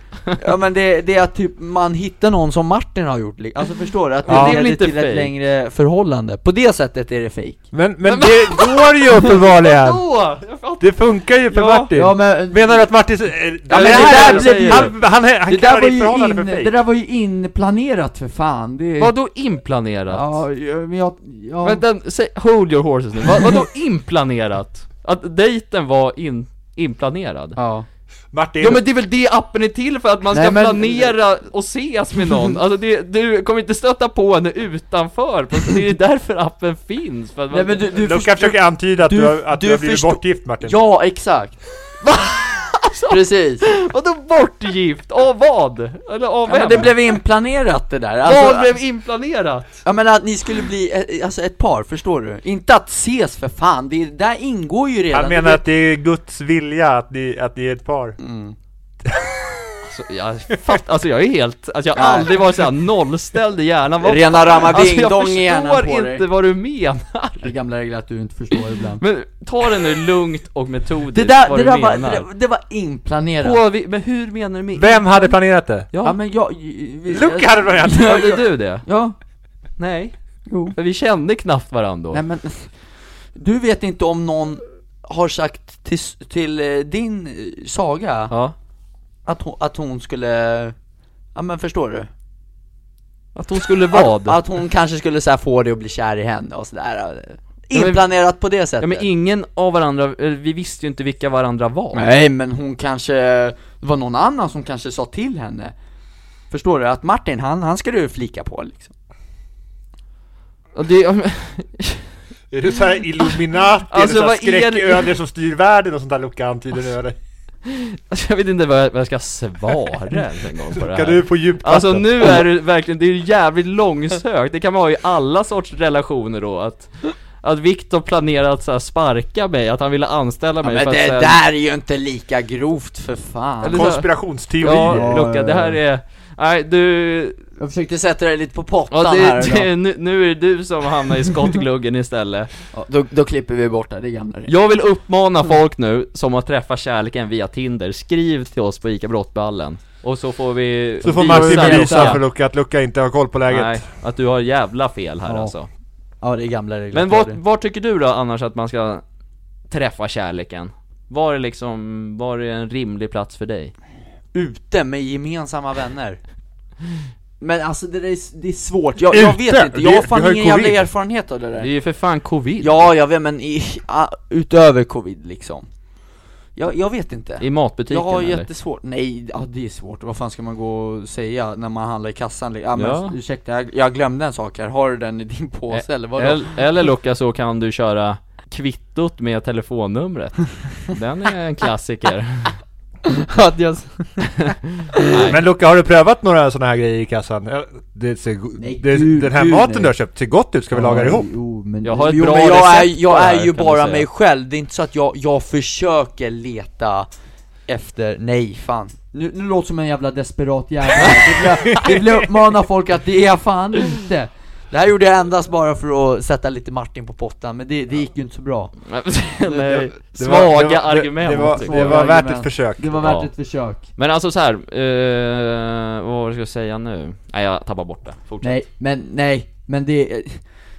[SPEAKER 4] Ja men det, det är att typ man hittar någon som Martin har gjort, li- alltså förstår du? Att det
[SPEAKER 1] Ja. Det är
[SPEAKER 4] leder
[SPEAKER 1] väl inte
[SPEAKER 4] till
[SPEAKER 1] fake?
[SPEAKER 4] ett längre förhållande, på det sättet är det fake
[SPEAKER 2] Men, men det går ju uppenbarligen!
[SPEAKER 1] Vadå? Jag fattar
[SPEAKER 2] Det funkar ju för
[SPEAKER 1] Ja,
[SPEAKER 2] Martin!
[SPEAKER 4] Ja men,
[SPEAKER 2] Menar du att Martin... eh, det
[SPEAKER 4] men det
[SPEAKER 2] här-
[SPEAKER 4] där blev-
[SPEAKER 2] han, han, han,
[SPEAKER 4] det, där
[SPEAKER 2] kallar
[SPEAKER 4] var
[SPEAKER 2] ditt
[SPEAKER 4] ju
[SPEAKER 2] förhållande
[SPEAKER 4] in,
[SPEAKER 2] för
[SPEAKER 4] det
[SPEAKER 2] fake?
[SPEAKER 4] där var ju inplanerat för fan, det...
[SPEAKER 1] Vadå inplanerat?
[SPEAKER 4] Ja, ja, men jag, ja,
[SPEAKER 1] Vänta, säg, hold your horses nu, Vad, vadå inplanerat? Att dejten var in, inplanerad?
[SPEAKER 4] ja.
[SPEAKER 2] Martin,
[SPEAKER 1] Ja men det är väl det appen är till för, att man ska
[SPEAKER 4] Nej, men-
[SPEAKER 1] planera och ses med någon. Alltså det, du kommer inte stöta på henne utanför, det är därför appen finns. För att
[SPEAKER 4] Nej
[SPEAKER 1] man,
[SPEAKER 4] men du, du
[SPEAKER 2] Luca
[SPEAKER 4] förstår-
[SPEAKER 2] försöker antyda att du,
[SPEAKER 4] du-
[SPEAKER 2] har- att du,
[SPEAKER 4] du
[SPEAKER 2] har blivit
[SPEAKER 4] förstår-
[SPEAKER 2] bortgift Martin.
[SPEAKER 4] Ja, exakt! Alltså. Precis!
[SPEAKER 1] Vadå bortgift? Av vad? Eller av
[SPEAKER 4] Ja,
[SPEAKER 1] vem?
[SPEAKER 4] men det blev inplanerat det där,
[SPEAKER 1] Vad
[SPEAKER 4] alltså,
[SPEAKER 1] blev inplanerat?
[SPEAKER 4] Ja men att ni skulle bli eh, alltså, ett par, förstår du? Inte att ses för fan, det där ingår ju redan
[SPEAKER 2] Han menar att det är Guds vilja att ni, att ni är ett par.
[SPEAKER 1] så, jag fatt, alltså jag är helt, alltså jag har aldrig varit såhär nollställd i hjärnan Vad-
[SPEAKER 4] Rena rama
[SPEAKER 1] Alltså
[SPEAKER 4] ding
[SPEAKER 1] jag
[SPEAKER 4] dong i hjärnan på
[SPEAKER 1] förstår
[SPEAKER 4] dig.
[SPEAKER 1] inte vad du menar
[SPEAKER 4] Det gamla regler att du inte förstår ibland.
[SPEAKER 1] Men ta det nu lugnt och metodiskt
[SPEAKER 4] Det där,
[SPEAKER 1] vad
[SPEAKER 4] det
[SPEAKER 1] du
[SPEAKER 4] där var,
[SPEAKER 1] menar
[SPEAKER 4] det, där- det var inplanerat.
[SPEAKER 1] På, vi- Men hur menar du med?
[SPEAKER 2] Vem hade planerat det?
[SPEAKER 1] Ja,
[SPEAKER 4] Ja
[SPEAKER 1] men,
[SPEAKER 4] men jag... vi-
[SPEAKER 2] Luca hade planerat det!
[SPEAKER 1] hade du det?
[SPEAKER 4] Ja,
[SPEAKER 1] Nej,
[SPEAKER 4] jo.
[SPEAKER 1] för vi kände knappt varandra då
[SPEAKER 4] Nej men, du vet inte om någon har sagt till, till eh, din eh, Saga
[SPEAKER 1] Ja,
[SPEAKER 4] att, hon, att hon skulle, ja men förstår du?
[SPEAKER 1] att hon skulle
[SPEAKER 4] Att,
[SPEAKER 1] vad?
[SPEAKER 4] att hon kanske skulle så här, få dig att bli kär i henne och sådär
[SPEAKER 1] men-
[SPEAKER 4] Inplanerat på det sättet
[SPEAKER 1] Ja men ingen av varandra, eller vi visste ju inte vilka varandra var
[SPEAKER 4] Nej men hon kanske, det var någon annan som kanske sa till henne Förstår du? Att Martin, han, han ska du flika på liksom
[SPEAKER 1] Och det, ja, men-
[SPEAKER 2] Är du såhär Illuminati,
[SPEAKER 1] Alltså,
[SPEAKER 2] eller
[SPEAKER 1] vad
[SPEAKER 2] såhär
[SPEAKER 1] är det?
[SPEAKER 2] skräcködlor som styr världen och sånt där Luca antyder nu eller?
[SPEAKER 1] alltså, jag vet inte vad jag, vad jag ska svara ens en gång på det här
[SPEAKER 2] Kan du på djupt
[SPEAKER 1] Alltså
[SPEAKER 2] vatten?
[SPEAKER 1] nu är det verkligen, det är ju jävligt långsökt, det kan man ha i alla sorts relationer då att att Viktor planerade att så här sparka mig, att han ville anställa mig
[SPEAKER 4] Men
[SPEAKER 1] för
[SPEAKER 4] det
[SPEAKER 1] att sen-
[SPEAKER 4] där är ju inte lika grovt för fan
[SPEAKER 1] Eller-
[SPEAKER 2] Konspirationsteorier!
[SPEAKER 1] Ja, Luca, det här är... Nej, du...
[SPEAKER 4] Jag försökte sätta dig lite på pottan
[SPEAKER 1] Ja,
[SPEAKER 4] här
[SPEAKER 1] det,
[SPEAKER 4] idag.
[SPEAKER 1] det, nu, nu är det du som hamnar i skottgluggen istället.
[SPEAKER 4] Ja, då, då klipper vi bort det, det är gamla regler.
[SPEAKER 1] Jag vill uppmana
[SPEAKER 4] Mm.
[SPEAKER 1] folk nu som har träffat kärleken via Tinder, skriv till oss på ICA Brottballen. Och så får vi...
[SPEAKER 2] Så får
[SPEAKER 1] visa
[SPEAKER 2] Martin bevisa
[SPEAKER 1] Luca-
[SPEAKER 2] för Luca att Luca inte har koll på läget.
[SPEAKER 1] Nej, att du har jävla fel här
[SPEAKER 4] Ja.
[SPEAKER 1] alltså.
[SPEAKER 4] Ja det är gamla regler
[SPEAKER 1] Men vad, vad tycker du då annars att man ska träffa kärleken? Var är liksom, var är en rimlig plats för dig?
[SPEAKER 4] Ute med gemensamma vänner Men alltså det, där är, det är svårt, jag, jag
[SPEAKER 2] Ute?
[SPEAKER 4] vet inte,
[SPEAKER 2] Det-
[SPEAKER 4] jag har
[SPEAKER 2] vi har
[SPEAKER 4] fan
[SPEAKER 2] ju
[SPEAKER 4] ingen jävla
[SPEAKER 2] covid.
[SPEAKER 4] erfarenhet av det
[SPEAKER 1] Det är
[SPEAKER 4] där
[SPEAKER 1] ju för fan covid.
[SPEAKER 4] Ja jag vet men i, a, utöver covid liksom Jag, jag vet inte
[SPEAKER 1] I matbutiken
[SPEAKER 4] jag har
[SPEAKER 1] eller?
[SPEAKER 4] jättesvårt, nej, ja, det är svårt, vad fan ska man gå och säga när man handlar i kassan? Ja, men,
[SPEAKER 1] Ja.
[SPEAKER 4] Ursäkta, jag, jag glömde en sak här, har du den i din påse eller vadå?
[SPEAKER 1] El- Eller Luca så kan du köra kvittot med telefonnumret. Den är en klassiker.
[SPEAKER 4] Att jag-
[SPEAKER 2] Men Luca, har du prövat några sådana här grejer i kassan? Ja, Det ser, go-
[SPEAKER 4] Nej,
[SPEAKER 2] det,
[SPEAKER 4] gud,
[SPEAKER 2] den här
[SPEAKER 4] gud,
[SPEAKER 2] maten
[SPEAKER 4] nej.
[SPEAKER 2] du har köpt ser gott ut, ska vi laga det
[SPEAKER 4] Ja,
[SPEAKER 2] ihop?
[SPEAKER 4] Jo, men,
[SPEAKER 1] Jag har ett
[SPEAKER 4] jo,
[SPEAKER 1] bra
[SPEAKER 4] men jag är,
[SPEAKER 1] recept på det
[SPEAKER 4] jag
[SPEAKER 1] här,
[SPEAKER 4] är ju
[SPEAKER 1] kan
[SPEAKER 4] bara
[SPEAKER 1] man säga.
[SPEAKER 4] mig själv, det är inte så att jag, jag försöker leta efter, nej fan Nu, nu låter det som en jävla desperat jävel, det vill jag- det vill jag uppmana folk att det är jag fan inte Det här gjorde jag endast bara för att sätta lite Martin på pottan, men det, det gick ju inte så bra
[SPEAKER 1] Nej,
[SPEAKER 2] Det var- det var-
[SPEAKER 1] svaga
[SPEAKER 2] det-
[SPEAKER 1] argument.
[SPEAKER 2] Det var,
[SPEAKER 1] tycker
[SPEAKER 2] det
[SPEAKER 1] jag.
[SPEAKER 2] var
[SPEAKER 4] Svaga
[SPEAKER 2] värt ett
[SPEAKER 4] argument.
[SPEAKER 2] försök.
[SPEAKER 4] Det var värt
[SPEAKER 1] Ja.
[SPEAKER 4] ett försök
[SPEAKER 1] Men alltså så här, eh, vad var det jag ska säga nu? Nej jag tappar bort det, fortsätt.
[SPEAKER 4] Nej, men nej, men det,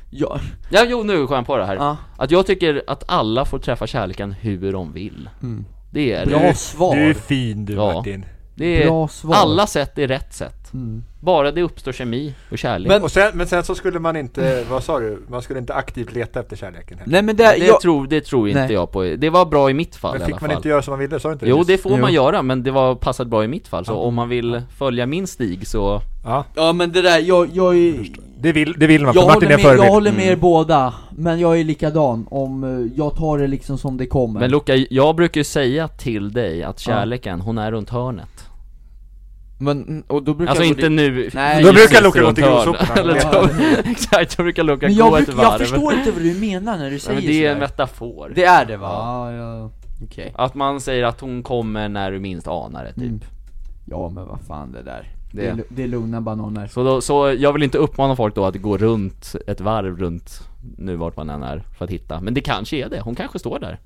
[SPEAKER 4] ja,
[SPEAKER 1] Ja jo nu kom jag på det här.
[SPEAKER 4] ja
[SPEAKER 1] Att jag tycker att alla får träffa kärleken hur de vill.
[SPEAKER 4] Mm.
[SPEAKER 1] Det är
[SPEAKER 4] Bra
[SPEAKER 1] det.
[SPEAKER 4] svar!
[SPEAKER 2] Du är fin du
[SPEAKER 1] Ja.
[SPEAKER 2] Martin.
[SPEAKER 1] det är,
[SPEAKER 4] Bra svar!
[SPEAKER 1] alla sätt är rätt sätt.
[SPEAKER 4] Mm.
[SPEAKER 1] Bara det uppstår kemi och kärlek.
[SPEAKER 2] Men, och sen, men sen så skulle man inte, vad sa du? Man skulle inte aktivt leta efter kärleken heller.
[SPEAKER 4] Nej men det,
[SPEAKER 1] det,
[SPEAKER 4] eh, jag,
[SPEAKER 1] tror, det tror inte
[SPEAKER 4] Nej.
[SPEAKER 1] jag på. Det var bra i mitt fall
[SPEAKER 2] Men
[SPEAKER 1] i alla
[SPEAKER 2] fick man
[SPEAKER 1] fall.
[SPEAKER 2] inte göra som man ville? Sa du inte det?
[SPEAKER 1] Jo
[SPEAKER 2] nyss?
[SPEAKER 1] det får
[SPEAKER 4] Jo.
[SPEAKER 1] man göra men det var passat bra i mitt fall så om man vill följa min stig så
[SPEAKER 2] Ja,
[SPEAKER 4] ja men det där, jag, jag är,
[SPEAKER 2] det vill, det vill man,
[SPEAKER 4] Jag
[SPEAKER 2] för Mm. Martin är
[SPEAKER 4] håller, med, jag
[SPEAKER 2] förebild.
[SPEAKER 4] håller med er båda, men jag är likadan om eh, jag tar det liksom som det kommer
[SPEAKER 1] Men Luca, jag brukar ju säga till dig att kärleken, hon är runt hörnet
[SPEAKER 4] Men- och då brukar
[SPEAKER 1] Alltså
[SPEAKER 4] jag gå
[SPEAKER 1] inte
[SPEAKER 4] dit-
[SPEAKER 1] nu,
[SPEAKER 4] Nej,
[SPEAKER 2] Då
[SPEAKER 4] just
[SPEAKER 2] brukar
[SPEAKER 4] det.
[SPEAKER 2] Luca gå till
[SPEAKER 1] runt
[SPEAKER 2] grovsoporna.
[SPEAKER 1] hörnet.
[SPEAKER 2] Ja.
[SPEAKER 1] Eller då- Exakt, då brukar Luca
[SPEAKER 4] Men
[SPEAKER 1] gå
[SPEAKER 4] jag,
[SPEAKER 1] ett
[SPEAKER 4] bruk,
[SPEAKER 1] varv
[SPEAKER 4] jag förstår inte vad du menar när du säger
[SPEAKER 1] Nej, men det är en
[SPEAKER 4] sådär.
[SPEAKER 1] metafor
[SPEAKER 4] Det är det va?
[SPEAKER 1] Ja.
[SPEAKER 4] Ja, ja. okej
[SPEAKER 1] Att man säger att hon kommer när du minst anar det typ
[SPEAKER 4] Mm. Ja men vad fan det där
[SPEAKER 1] Det-
[SPEAKER 4] Det, är, lu- det är lugna bananer
[SPEAKER 1] så, då, så jag vill inte uppmana folk då att gå runt ett varv runt nu vart man än är för att hitta Men det kanske är det, hon kanske står där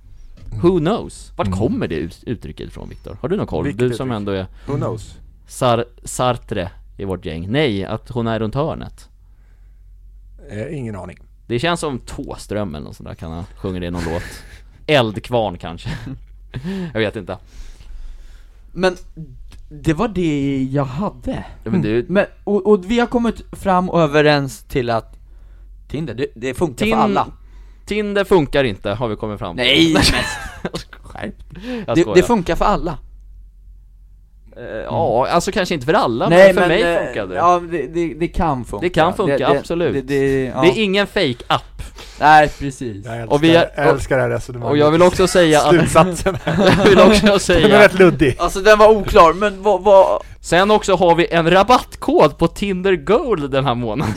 [SPEAKER 1] Who knows? Vart
[SPEAKER 4] Mm.
[SPEAKER 1] kommer det ut- uttrycket ifrån Viktor? Har du någon koll?
[SPEAKER 2] Vilket
[SPEAKER 1] du som
[SPEAKER 2] uttryck?
[SPEAKER 1] ändå är
[SPEAKER 2] Who knows?
[SPEAKER 1] Sar- Sartre i vårt gäng. Nej, att hon är runt hörnet.
[SPEAKER 2] Eh, ingen aning.
[SPEAKER 1] Det känns som Tåström eller något sånt där kan han sjunga det i någon låt. Eldkvarn kanske. jag vet inte.
[SPEAKER 4] Men det var det jag hade
[SPEAKER 1] Ja, Men du,
[SPEAKER 4] Men, och, och vi har kommit fram och överens till att Tinder, det, det funkar
[SPEAKER 1] Tin-
[SPEAKER 4] för alla
[SPEAKER 1] Tinder funkar inte har vi kommit fram till.
[SPEAKER 4] Nej men skärp
[SPEAKER 1] jag
[SPEAKER 4] det,
[SPEAKER 1] skojar.
[SPEAKER 4] det funkar för alla
[SPEAKER 1] Eh, Ja, alltså kanske inte för alla, men för mig
[SPEAKER 4] eh,
[SPEAKER 1] funkar det.
[SPEAKER 4] Ja, det, det, det kan funka.
[SPEAKER 1] Det kan funka, absolut.
[SPEAKER 4] Det, det, ja.
[SPEAKER 1] Det är ingen fake app
[SPEAKER 4] Nej, precis.
[SPEAKER 2] Jag älskar,
[SPEAKER 1] Och vi är-
[SPEAKER 2] jag älskar det här resonemanget.
[SPEAKER 1] Och jag vill också säga att,
[SPEAKER 2] Slutsatsen här.
[SPEAKER 1] jag vill också
[SPEAKER 2] Den är
[SPEAKER 1] säga
[SPEAKER 2] rätt luddig.
[SPEAKER 4] Alltså den var oklar, men vad, vad...
[SPEAKER 1] Sen också har vi en rabattkod på Tinder Gold den här månaden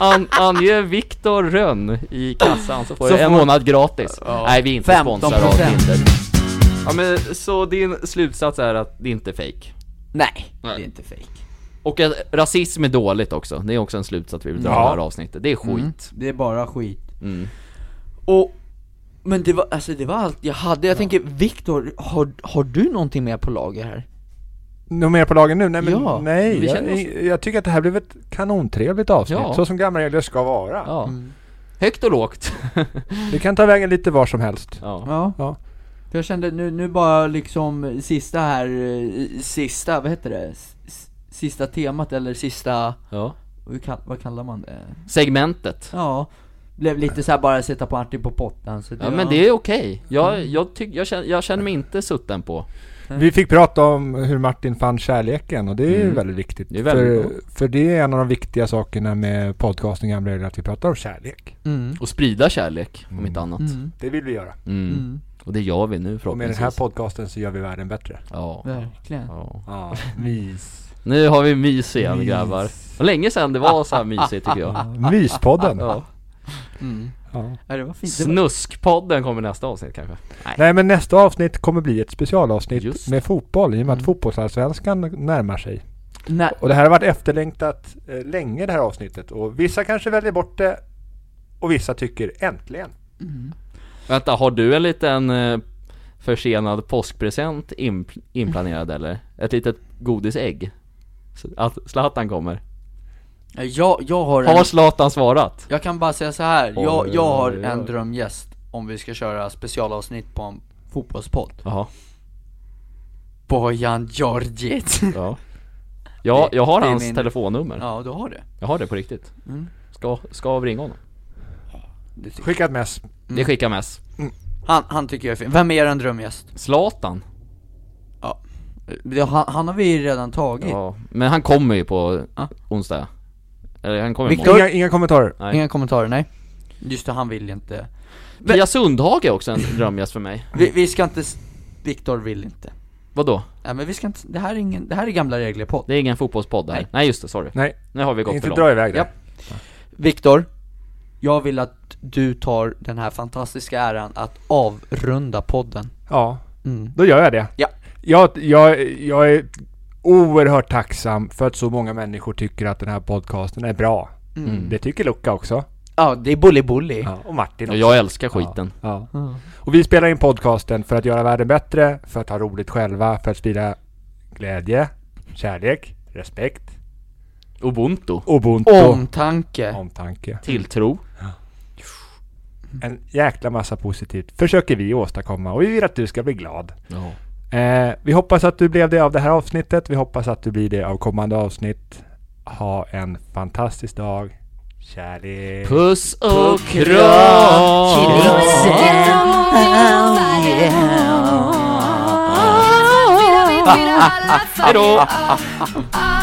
[SPEAKER 1] An, Ange Viktor Rönn i kassan så får
[SPEAKER 4] Så
[SPEAKER 1] du en
[SPEAKER 4] får-
[SPEAKER 1] månad gratis Nej vi är inte sponsrade av
[SPEAKER 4] 15%.
[SPEAKER 1] Tinder Ja men så din slutsats är att det inte är fake
[SPEAKER 4] Nej, det är
[SPEAKER 1] Nej.
[SPEAKER 4] inte fake.
[SPEAKER 1] Och att rasism är dåligt också, det är också en slutsats vi vill dra
[SPEAKER 2] Ja.
[SPEAKER 1] av det här avsnittet. Det är
[SPEAKER 4] Mm.
[SPEAKER 1] skit.
[SPEAKER 4] Det är bara skit.
[SPEAKER 1] Mm.
[SPEAKER 4] Och, men det var, alltså det var allt jag hade. Jag tänker, Viktor, har, har du någonting mer på lager här?
[SPEAKER 2] Något mer på lagen nu? Nej, men
[SPEAKER 4] Ja,
[SPEAKER 2] nej.
[SPEAKER 1] vi
[SPEAKER 2] Jag,
[SPEAKER 1] känner
[SPEAKER 2] jag tycker att det här blev ett kanontrevligt avsnitt.
[SPEAKER 1] Ja.
[SPEAKER 2] Så som gamla regler ska vara.
[SPEAKER 1] Ja.
[SPEAKER 4] Mm.
[SPEAKER 1] Högt och lågt.
[SPEAKER 2] Det kan ta vägen lite var som helst.
[SPEAKER 1] ja.
[SPEAKER 4] Ja.
[SPEAKER 2] Ja.
[SPEAKER 4] För jag kände nu, nu bara liksom sista här, eh, sista, vad heter det? S- s- Sista temat eller sista,
[SPEAKER 1] ja.
[SPEAKER 4] hur kall, vad kallar man det?
[SPEAKER 1] Segmentet.
[SPEAKER 4] Ja, blev lite så här bara sätta Martin på pottan så
[SPEAKER 1] Ja, men det är okej. Jag,
[SPEAKER 4] Mm.
[SPEAKER 1] jag, tyck, jag, känner, jag känner mig inte sutten på.
[SPEAKER 2] Vi fick prata om hur Martin fann kärleken och det är ju väldigt viktigt.
[SPEAKER 1] Mm. Det är väldigt
[SPEAKER 2] för, för det är en av de viktiga sakerna med podcasting gamla regler, att vi pratar om kärlek.
[SPEAKER 4] Mm,
[SPEAKER 1] Och sprida kärlek, om inte annat.
[SPEAKER 4] mm,
[SPEAKER 2] Det vill vi göra.
[SPEAKER 1] Mm.
[SPEAKER 4] mm,
[SPEAKER 1] Och det gör vi nu
[SPEAKER 2] Och med den
[SPEAKER 1] förhoppningsvis.
[SPEAKER 2] här podcasten så gör vi världen bättre.
[SPEAKER 1] ja.
[SPEAKER 4] verkligen.
[SPEAKER 1] ja.
[SPEAKER 2] Ja, mys.
[SPEAKER 1] Nu har vi mys igen
[SPEAKER 2] Mys.
[SPEAKER 1] grabbar. Det var länge sedan det var så här mysigt tycker jag.
[SPEAKER 2] Myspodden.
[SPEAKER 1] Ja.
[SPEAKER 4] Mm.
[SPEAKER 2] Ja.
[SPEAKER 4] Ja, det var fint. Det var,
[SPEAKER 1] Snuskpodden kommer nästa avsnitt kanske.
[SPEAKER 2] Nej men nästa avsnitt kommer bli ett specialavsnitt
[SPEAKER 1] Just. Mm.
[SPEAKER 2] med fotboll i och med att fotbollsallsvenskan närmar sig.
[SPEAKER 4] nej,
[SPEAKER 2] Och det här har varit efterlängtat eh, länge det här avsnittet och vissa kanske väljer bort det och vissa tycker äntligen.
[SPEAKER 1] Vänta, har du en liten eh, försenad påskpresent imp- inplanerad eller? Ett litet godisägg? Så Att Zlatan kommer.
[SPEAKER 4] jag, jag har en...
[SPEAKER 1] Har Zlatan svarat?
[SPEAKER 4] Jag kan bara säga så här. jag,
[SPEAKER 1] Oj,
[SPEAKER 4] jag har
[SPEAKER 1] oj, oj.
[SPEAKER 4] en drömgäst om vi ska köra specialavsnitt på en fotbollspodd.
[SPEAKER 1] Jaha,
[SPEAKER 4] Bojan Djordjic.
[SPEAKER 1] ja. Ja, jag har
[SPEAKER 4] Det är
[SPEAKER 1] hans
[SPEAKER 4] min-
[SPEAKER 1] telefonnummer.
[SPEAKER 4] Ja, Mm. du har det.
[SPEAKER 1] Jag har det på riktigt. Ska, ska av ringa honom.
[SPEAKER 4] det tycker jag.
[SPEAKER 2] Skicka ett mess.
[SPEAKER 4] Mm.
[SPEAKER 1] Det skickar mess.
[SPEAKER 4] han, han tycker jag är fin. Vem är en drömgäst?
[SPEAKER 1] Zlatan?
[SPEAKER 4] Ja. Det, han, han har vi redan tagit.
[SPEAKER 1] Ja, men han kommer ju på
[SPEAKER 4] Ja.
[SPEAKER 1] onsdag. Eller han kommer
[SPEAKER 4] Viktor-
[SPEAKER 1] imorgon.
[SPEAKER 2] Inga, inga kommentarer.
[SPEAKER 1] Nej.
[SPEAKER 4] Inga kommentarer, nej. Just det, han vill inte.
[SPEAKER 1] Pia Sundhage är också en drömgäst för mig.
[SPEAKER 4] Vi, vi ska inte... s- Viktor vill inte.
[SPEAKER 1] Vadå?
[SPEAKER 4] Nej men vi ska inte, det här är ingen, det här är gamla regler podd.
[SPEAKER 1] Det är ingen fotbollspodd här.
[SPEAKER 4] Nej.
[SPEAKER 1] Nej, just det, sorry.
[SPEAKER 2] Nej,
[SPEAKER 1] Nu har vi gått
[SPEAKER 2] inte
[SPEAKER 1] för
[SPEAKER 2] dra
[SPEAKER 1] långt.
[SPEAKER 2] iväg det.
[SPEAKER 4] Japp. Viktor, jag vill att du tar den här fantastiska äran att avrunda podden.
[SPEAKER 2] Ja,
[SPEAKER 4] Mm.
[SPEAKER 2] då gör jag det.
[SPEAKER 4] Ja.
[SPEAKER 2] Jag, jag, jag är oerhört tacksam för att så många människor tycker att den här podcasten är bra. Det tycker Luca också.
[SPEAKER 4] Ja, det är bully bully.
[SPEAKER 2] Ja, och Martin
[SPEAKER 1] Mm. Ja,
[SPEAKER 2] också.
[SPEAKER 1] Jag älskar skiten.
[SPEAKER 2] Ja. Och vi spelar in podcasten för att göra världen bättre, för att ha roligt själva, för att sprida glädje, kärlek, respekt,
[SPEAKER 1] Ubuntu.
[SPEAKER 2] ubuntu,
[SPEAKER 4] Omtanke.
[SPEAKER 2] omtanke.
[SPEAKER 1] Tilltro.
[SPEAKER 2] En jäkla massa positivt försöker vi åstadkomma och vi vill att du ska bli glad.
[SPEAKER 1] Ja.
[SPEAKER 2] Eh, vi hoppas att du blev det av det här avsnittet. Vi hoppas att du blir det av kommande avsnitt. Ha en fantastisk dag. Kärlek.
[SPEAKER 1] Puss och kram!
[SPEAKER 5] Hejdå! ah. ah,